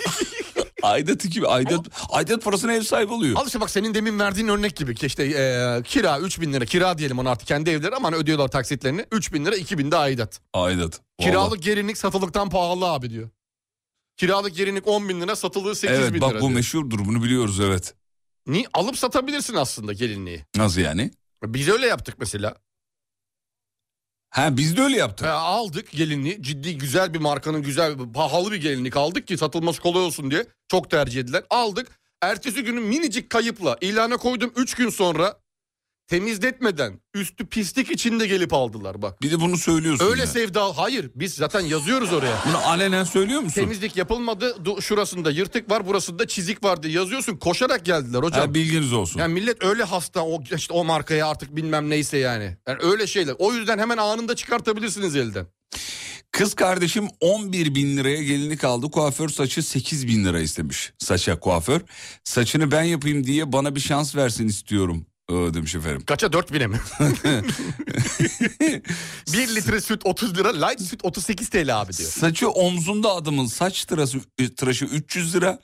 Speaker 4: aidat 2000. Aidat, aidat parasına ev sahibi oluyor.
Speaker 5: Al işte bak senin demin verdiğin örnek gibi ki işte e, kira 3000 lira kira diyelim ona artık kendi evleri ama hani ödüyorlar taksitlerini 3000 lira 2000 de aidat.
Speaker 4: Aidat. Vallahi.
Speaker 5: Kiralık gerinlik satılıktan pahalı abi diyor. Kiralık gerinlik 10 bin lira satılığı 8
Speaker 4: Evet
Speaker 5: bin
Speaker 4: bak
Speaker 5: lira.
Speaker 4: bu
Speaker 5: diyor.
Speaker 4: meşhurdur bunu biliyoruz evet.
Speaker 5: Ni alıp satabilirsin aslında gelinliği.
Speaker 4: Nasıl yani?
Speaker 5: Biz öyle yaptık mesela.
Speaker 4: Ha biz de öyle yaptık.
Speaker 5: E, aldık gelinliği ciddi güzel bir markanın güzel bir- pahalı bir gelinlik aldık ki satılması kolay olsun diye çok tercih edilen aldık. Ertesi günü minicik kayıpla ilana koydum 3 gün sonra temizletmeden üstü pislik içinde gelip aldılar bak.
Speaker 4: Bir de bunu söylüyorsun.
Speaker 5: Öyle
Speaker 4: ya.
Speaker 5: sevda hayır biz zaten yazıyoruz oraya.
Speaker 4: Bunu alenen söylüyor musun?
Speaker 5: Temizlik yapılmadı du- şurasında yırtık var burasında çizik var diye yazıyorsun koşarak geldiler hocam.
Speaker 4: Ha, bilginiz olsun.
Speaker 5: yani millet öyle hasta o işte o markaya artık bilmem neyse yani. yani. Öyle şeyler. O yüzden hemen anında çıkartabilirsiniz elden.
Speaker 4: Kız kardeşim 11 bin liraya gelinlik aldı. Kuaför saçı 8 bin lira istemiş. Saça kuaför. Saçını ben yapayım diye bana bir şans versin istiyorum ee, demiş efendim.
Speaker 5: Kaça 4000'e mi? 1 litre süt 30 lira, light süt 38 TL abi diyor.
Speaker 4: Saçı omzunda adamın saç tıraşı, e, tıraşı 300 lira.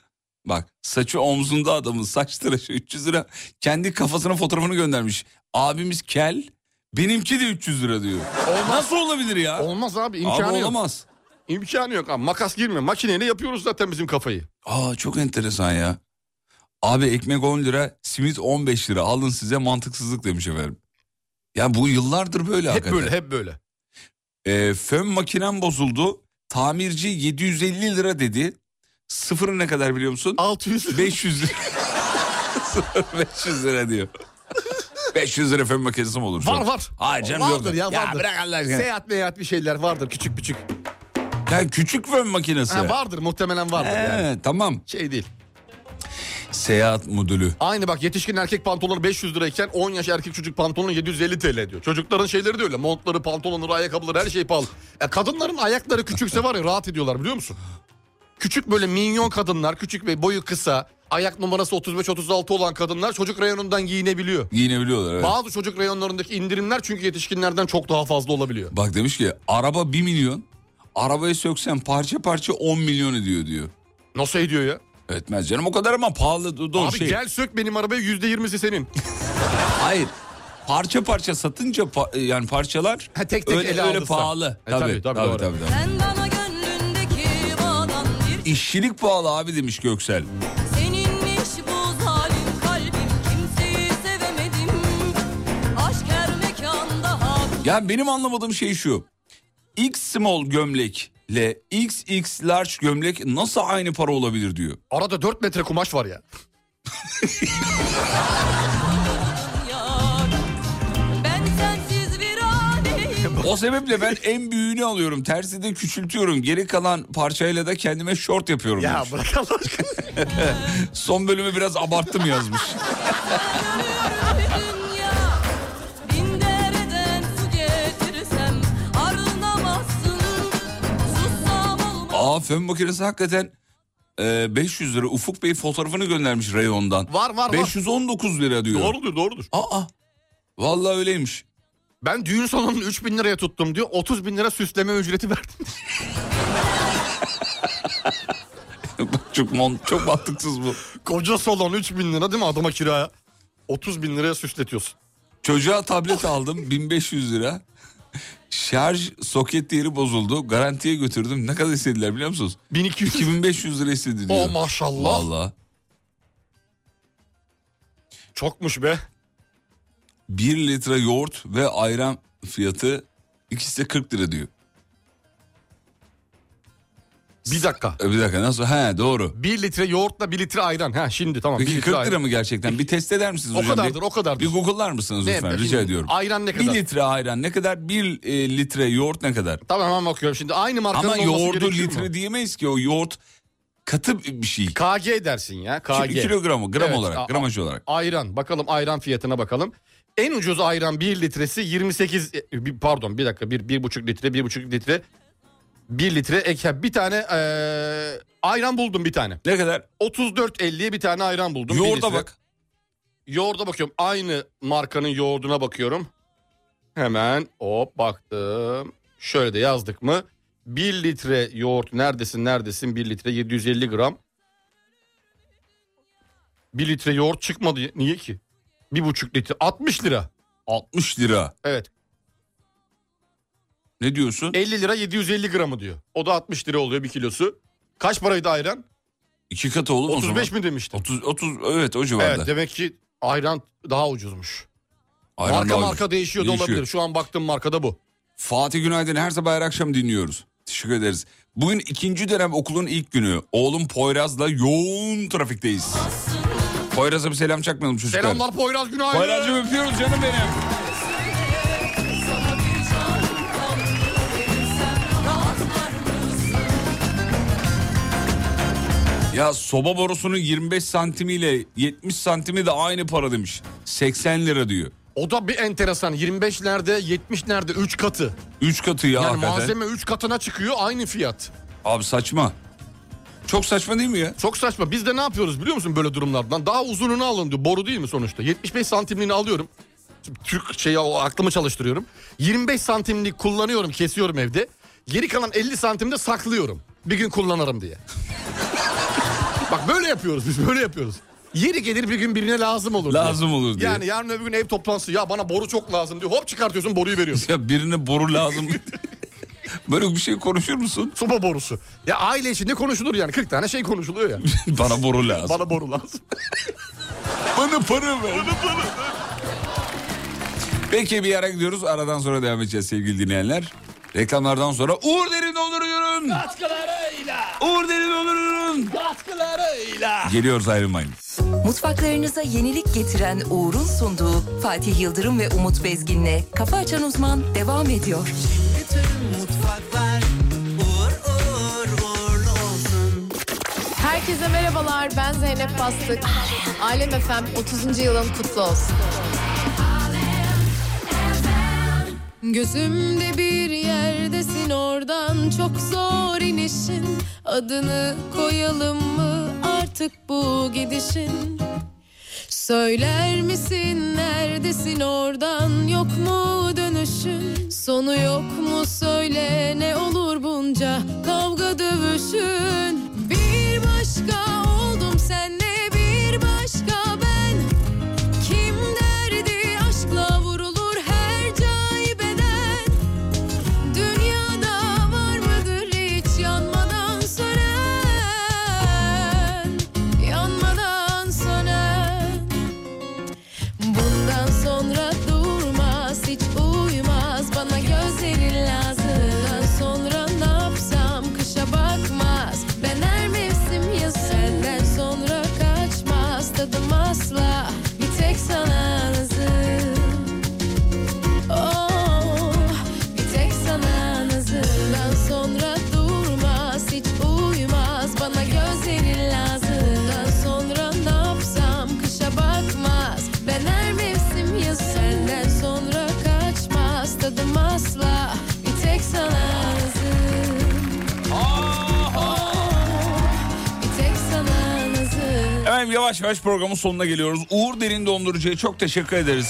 Speaker 4: Bak saçı omzunda adamın saç tıraşı 300 lira. Kendi kafasına fotoğrafını göndermiş. Abimiz kel benimki de 300 lira diyor. Nasıl olabilir ya?
Speaker 5: Olmaz abi
Speaker 4: Abi
Speaker 5: imkanı yok.
Speaker 4: olamaz.
Speaker 5: İmkanı yok abi makas girmiyor. Makineyle yapıyoruz zaten bizim kafayı.
Speaker 4: Aa çok enteresan ya. Abi ekmek 10 lira, simit 15 lira. Alın size mantıksızlık demiş efendim. Ya bu yıllardır böyle
Speaker 5: Hep
Speaker 4: hakikaten.
Speaker 5: böyle hep böyle.
Speaker 4: Ee, fön makinem bozuldu. Tamirci 750 lira dedi. Sıfırı ne kadar biliyor musun?
Speaker 5: 600
Speaker 4: 500 lira. Sıfır 500 lira diyor. 500 lira fön makinesi mi olur?
Speaker 5: Var var.
Speaker 4: Hayır canım
Speaker 5: vardır
Speaker 4: yok.
Speaker 5: ya vardır.
Speaker 4: bırak Allah aşkına.
Speaker 5: Seyahat meyahat bir şeyler vardır küçük küçük.
Speaker 4: Ya küçük fön makinesi.
Speaker 5: Ha, vardır muhtemelen vardır
Speaker 4: Ee.
Speaker 5: yani.
Speaker 4: He, tamam.
Speaker 5: Şey değil.
Speaker 4: Seyahat modülü.
Speaker 5: Aynı bak yetişkin erkek pantolonu 500 lirayken 10 yaş erkek çocuk pantolonu 750 TL diyor. Çocukların şeyleri de öyle. Montları, pantolonları, ayakkabıları her şey pahalı. E, kadınların ayakları küçükse var ya rahat ediyorlar biliyor musun? Küçük böyle minyon kadınlar, küçük ve boyu kısa, ayak numarası 35-36 olan kadınlar çocuk reyonundan giyinebiliyor.
Speaker 4: Giyinebiliyorlar. Evet.
Speaker 5: Bazı çocuk reyonlarındaki indirimler çünkü yetişkinlerden çok daha fazla olabiliyor.
Speaker 4: Bak demiş ki araba 1 milyon. Arabayı söksen parça parça 10 milyon ediyor diyor.
Speaker 5: Nasıl ediyor ya?
Speaker 4: Etmez canım o kadar ama pahalı do- doğru
Speaker 5: Abi
Speaker 4: şey.
Speaker 5: gel sök benim arabayı yüzde yirmisi senin.
Speaker 4: Hayır. Parça parça satınca pa- e, yani parçalar
Speaker 5: Ha, tek tek
Speaker 4: öyle,
Speaker 5: ele
Speaker 4: öyle
Speaker 5: aldırsan.
Speaker 4: pahalı.
Speaker 5: E,
Speaker 4: tabii,
Speaker 5: tabii,
Speaker 4: tabii,
Speaker 5: tabii,
Speaker 4: tabii,
Speaker 5: doğru.
Speaker 4: tabii.
Speaker 11: Sen bana gönlündeki bağdan bir
Speaker 4: İşçilik pahalı abi demiş Göksel.
Speaker 11: Seninmiş bu zalim kalbim Kimseyi sevemedim Aşk her mekanda hak
Speaker 4: Ya benim anlamadığım şey şu. X small gömlekle XX large gömlek nasıl aynı para olabilir diyor.
Speaker 5: Arada 4 metre kumaş var ya.
Speaker 11: yar Ben sensiz bir adeyim
Speaker 4: O sebeple ben en büyüğünü alıyorum. Tersi de küçültüyorum. Geri kalan parçayla da kendime short yapıyorum.
Speaker 5: Ya
Speaker 4: demiş.
Speaker 5: bırak Allah aşkına.
Speaker 4: Son bölümü biraz abarttım yazmış.
Speaker 11: Dönüyorum bir dünya Bin dereden su getirsem Arınamazsın Sussam olmaz
Speaker 4: Aa fön makinesi hakikaten e, 500 lira. Ufuk Bey fotoğrafını göndermiş reyondan.
Speaker 5: Var, var, var.
Speaker 4: 519 lira diyor.
Speaker 5: Doğrudur doğrudur.
Speaker 4: Aa vallahi öyleymiş.
Speaker 5: Ben düğün salonunu 3 bin liraya tuttum diyor. 30 bin lira süsleme ücreti verdim.
Speaker 4: Bak, çok mon- çok mantıksız bu.
Speaker 5: Koca salon 3 bin lira değil mi adama kiraya? 30 bin liraya süsletiyorsun.
Speaker 4: Çocuğa tablet aldım 1500 lira. Şarj soket değeri bozuldu. Garantiye götürdüm. Ne kadar istediler biliyor musunuz?
Speaker 5: 1200
Speaker 4: 2500 lira istedi diyor.
Speaker 5: Oh maşallah.
Speaker 4: Valla.
Speaker 5: Çokmuş be.
Speaker 4: 1 litre yoğurt ve ayran fiyatı ikisi de 40 lira diyor.
Speaker 5: Bir dakika.
Speaker 4: E, Bir dakika nasıl? He doğru.
Speaker 5: 1 litre yoğurtla 1 litre ayran. Ha şimdi tamam. bir
Speaker 4: Peki 40
Speaker 5: ayran.
Speaker 4: lira mı gerçekten? Bir test eder misiniz
Speaker 5: O
Speaker 4: hocam?
Speaker 5: kadardır,
Speaker 4: Bir-
Speaker 5: o kadardır.
Speaker 4: Bir google'lar mısınız
Speaker 5: Ne
Speaker 4: lütfen?
Speaker 5: yapayım?
Speaker 4: Rica ediyorum.
Speaker 5: Ayran ne
Speaker 4: 1
Speaker 5: kadar?
Speaker 4: litre ayran ne kadar? 1 litre yoğurt ne kadar?
Speaker 5: Tamam hemen bakıyorum şimdi. Aynı markanın
Speaker 4: Ama
Speaker 5: olması
Speaker 4: yoğurdu
Speaker 5: gerekiyor
Speaker 4: litre
Speaker 5: mu?
Speaker 4: diyemeyiz ki o yoğurt katı bir şey.
Speaker 5: KG dersin ya. KG.
Speaker 4: Ki- Kilogramı, gram
Speaker 5: Evet, a-
Speaker 4: olarak, gramaj olarak.
Speaker 5: Ayran bakalım ayran fiyatına bakalım. En ucuz ayran 1 litresi 28 e, bir- pardon bir dakika bir, bir buçuk litre bir buçuk litre 1 litre ek ha, bir tane e, ayran buldum bir tane.
Speaker 4: Ne kadar?
Speaker 5: 34.50'ye bir tane ayran buldum. bir
Speaker 4: Yoğurda
Speaker 5: litre.
Speaker 4: bak.
Speaker 5: Yoğurda bakıyorum. Aynı markanın yoğurduna bakıyorum. Hemen hop baktım. Şöyle de yazdık mı? 1 litre yoğurt neredesin neredesin 1 litre 750 gram. 1 litre yoğurt çıkmadı. Niye ki? 1,5 litre 60 lira.
Speaker 4: 60 lira.
Speaker 5: Evet
Speaker 4: Ne diyorsun?
Speaker 5: 50 lira 750 gramı diyor. O da 60 lira oluyor bir kilosu. Kaç paraydı ayran?
Speaker 4: İki katı olur mu o zaman?
Speaker 5: 35 mi demiştin?
Speaker 4: 30, 30, evet o civarda.
Speaker 5: Evet e, demek ki ayran daha ucuzmuş.
Speaker 4: Ayran
Speaker 5: marka
Speaker 4: daha
Speaker 5: marka
Speaker 4: ucuz.
Speaker 5: değişiyor da
Speaker 4: Değişiyor.
Speaker 5: olabilir. Şu an baktığım markada bu.
Speaker 4: Fatih Günaydın her sabah her akşam dinliyoruz. Teşekkür ederiz. Bugün ikinci dönem okulun ilk günü. Oğlum Poyraz'la yoğun trafikteyiz. Poyraz'a bir selam çakmayalım çocuklar.
Speaker 5: Selamlar Poyraz günaydın.
Speaker 4: Poyraz'cığım öpüyoruz canım benim.
Speaker 11: Sana bir can kanlı verirsem Rahatlar mısın?
Speaker 4: Ya soba borusunun 25 santimiyle 70 santimi de aynı para demiş. 80 lira diyor.
Speaker 5: O da bir enteresan. 25 nerede, 70 nerede? 3 katı.
Speaker 4: 3 katı ya
Speaker 5: Yani
Speaker 4: hakikaten.
Speaker 5: malzeme 3 katına çıkıyor aynı fiyat.
Speaker 4: Abi saçma. Çok saçma değil mi ya?
Speaker 5: Çok saçma. Biz de ne yapıyoruz biliyor musun böyle durumlardan? Daha uzununu alın diyor. Boru değil mi sonuçta? 75 santimliğini alıyorum. Şimdi Türk şey o aklımı çalıştırıyorum. 25 santimlik kullanıyorum, kesiyorum evde. Geri kalan 50 santimde saklıyorum. Bir gün kullanırım diye. Bak böyle yapıyoruz biz böyle yapıyoruz. Yeri gelir bir gün birine lazım olur. diye.
Speaker 4: Lazım olur diye.
Speaker 5: Yani yarın öbür gün ev toplantısı ya bana boru çok lazım diyor. Hop çıkartıyorsun boruyu veriyorsun.
Speaker 4: Ya birine boru lazım. Böyle bir şey konuşur musun?
Speaker 5: Soba borusu. Ya aile içinde konuşulur yani. 40 tane şey konuşuluyor ya.
Speaker 4: Bana boru lazım.
Speaker 5: Bana boru lazım.
Speaker 4: Bana para ver. Peki bir ara gidiyoruz. Aradan sonra devam edeceğiz sevgili dinleyenler. Reklamlardan sonra Uğur Derin Olur Ürün. Uğur Derin Olur Ürün. Geliyoruz ayrılmayın.
Speaker 1: Mutfaklarınıza yenilik getiren Uğur'un sunduğu Fatih Yıldırım ve Umut Bezgin'le Kafa Açan Uzman devam ediyor.
Speaker 2: Tüm mutfaklar uğur uğur uğurlu olsun.
Speaker 12: Herkese merhabalar, ben Zeynep Bastık. Alem Efem 30. yılın kutlu olsun. Gözümde bir yerdesin oradan çok zor inişin Adını koyalım mı artık bu gidişin Söyler misin neredesin oradan yok mu dönüşün Sonu yok mu söyle ne olur bunca kavga dövüşün Bir başka oldu Oh, da bir tek sana nazım. Bir tek sana nazım.
Speaker 4: Efendim yavaş yavaş programın sonuna geliyoruz. Uğur Derin Dondurucu'ya çok teşekkür ederiz.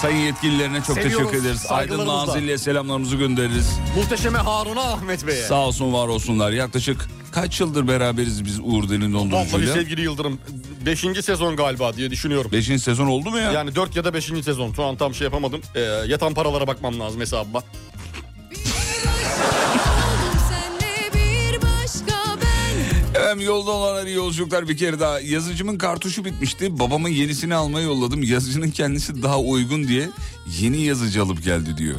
Speaker 4: Sayın yetkililerine çok
Speaker 5: Seviyoruz,
Speaker 4: teşekkür ederiz. Aydın
Speaker 5: saygılarımızla.
Speaker 4: Nazilli'ye selamlarımızı göndeririz.
Speaker 5: Muhteşeme Harun'a Ahmet Bey'e.
Speaker 4: Sağ olsun var olsunlar. Yaklaşık kaç yıldır beraberiz biz Uğur Derin
Speaker 5: Vallahi
Speaker 4: Dondurucu'yla?
Speaker 5: sevgili Yıldırım 5. sezon galiba diye düşünüyorum.
Speaker 4: Beşinci sezon oldu mu ya?
Speaker 5: Yani 4 ya da 5. sezon. Şu an tam şey yapamadım. Ee, yatan paralara bakmam lazım hesabıma.
Speaker 12: Senle bir başka ben.
Speaker 4: Efendim yolda olanlar iyi yolculuklar bir kere daha. Yazıcımın kartuşu bitmişti. Babamın yenisini almaya yolladım. Yazıcının kendisi daha uygun diye yeni yazıcı alıp geldi diyor.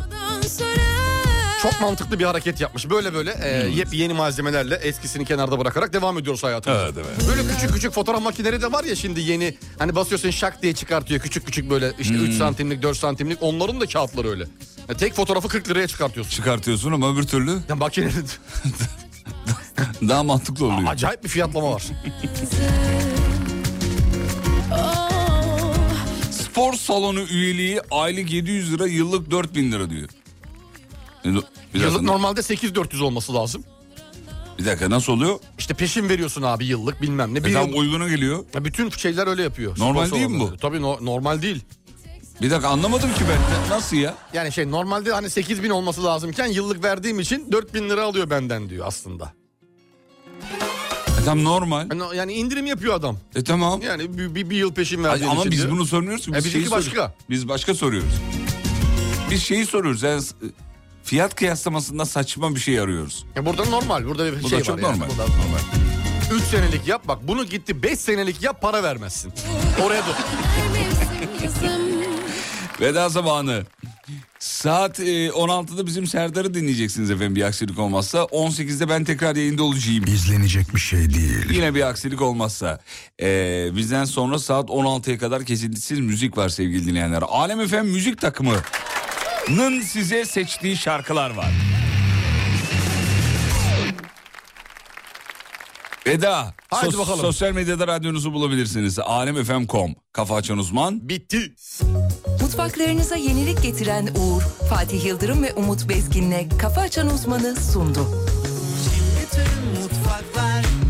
Speaker 5: Çok mantıklı bir hareket yapmış. Böyle böyle e, yepyeni malzemelerle eskisini kenarda bırakarak devam ediyoruz hayatımıza.
Speaker 4: Evet, evet.
Speaker 5: Böyle küçük küçük fotoğraf makineleri de var ya şimdi yeni. Hani basıyorsun şak diye çıkartıyor. Küçük küçük böyle işte
Speaker 4: Hmm.
Speaker 5: 3 santimlik 4 santimlik onların da kağıtları öyle. Ya tek fotoğrafı 40 liraya çıkartıyorsun.
Speaker 4: Çıkartıyorsun ama öbür türlü
Speaker 5: Ya makinenin
Speaker 4: daha mantıklı oluyor.
Speaker 5: acayip bir fiyatlama var.
Speaker 4: Spor salonu üyeliği aylık 700 lira, yıllık 4000 lira diyor. E, do- Bir
Speaker 5: Yıllık
Speaker 4: dakika,
Speaker 5: normalde 8400 olması lazım.
Speaker 4: bir dakika nasıl oluyor?
Speaker 5: İşte peşin veriyorsun abi yıllık bilmem ne. Bir
Speaker 4: E, tam
Speaker 5: yıl-
Speaker 4: uyguna geliyor.
Speaker 5: Ya bütün şeyler öyle yapıyor.
Speaker 4: Normal
Speaker 5: Spor
Speaker 4: değil mi
Speaker 5: salonları.
Speaker 4: bu?
Speaker 5: Tabii no- normal değil.
Speaker 4: Bir dakika anlamadım ki ben. Nasıl ya?
Speaker 5: Yani şey normalde hani 8000 olması lazımken yıllık verdiğim için 4000 lira alıyor benden diyor aslında.
Speaker 4: E, tam normal.
Speaker 5: Yani, yani indirim yapıyor adam.
Speaker 4: E tamam.
Speaker 5: Yani bir, bir, bir yıl peşin verdiğim
Speaker 4: Ama
Speaker 5: için
Speaker 4: biz
Speaker 5: Hani diyor.
Speaker 4: bunu sormuyoruz ki.
Speaker 5: E,
Speaker 4: Biz
Speaker 5: bizdeki
Speaker 4: şeyi soruyoruz.
Speaker 5: başka.
Speaker 4: Biz başka soruyoruz. Biz şeyi soruyoruz. Yani s- e, fiyat kıyaslamasında saçma bir şey arıyoruz.
Speaker 5: Ya E burada normal. Burada bir
Speaker 4: Bu
Speaker 5: şey
Speaker 4: da çok
Speaker 5: var.
Speaker 4: normal.
Speaker 5: 3 senelik yap bak bunu gitti 5 senelik yap para vermezsin. Oraya dur.
Speaker 4: Veda zamanı. Saat e, 16'da bizim Serdar'ı dinleyeceksiniz efendim bir aksilik olmazsa. 18'de ben tekrar yayında olacağım.
Speaker 9: İzlenecek bir şey değil.
Speaker 4: Yine bir aksilik olmazsa. Ee, bizden sonra saat 16'ya kadar kesintisiz müzik var sevgili dinleyenler. Alem FM müzik takımının size seçtiği şarkılar var. Eda,
Speaker 5: Haydi
Speaker 4: sos-
Speaker 5: bakalım.
Speaker 4: sosyal medyada radyonuzu bulabilirsiniz. Alemfm.com, kafa açan uzman.
Speaker 5: Bitti.
Speaker 1: Mutfaklarınıza yenilik getiren Uğur, Fatih Yıldırım ve Umut Bezgin'le Kafa Açan Uzman'ı sundu.
Speaker 2: Şimdi tüm mutfaklar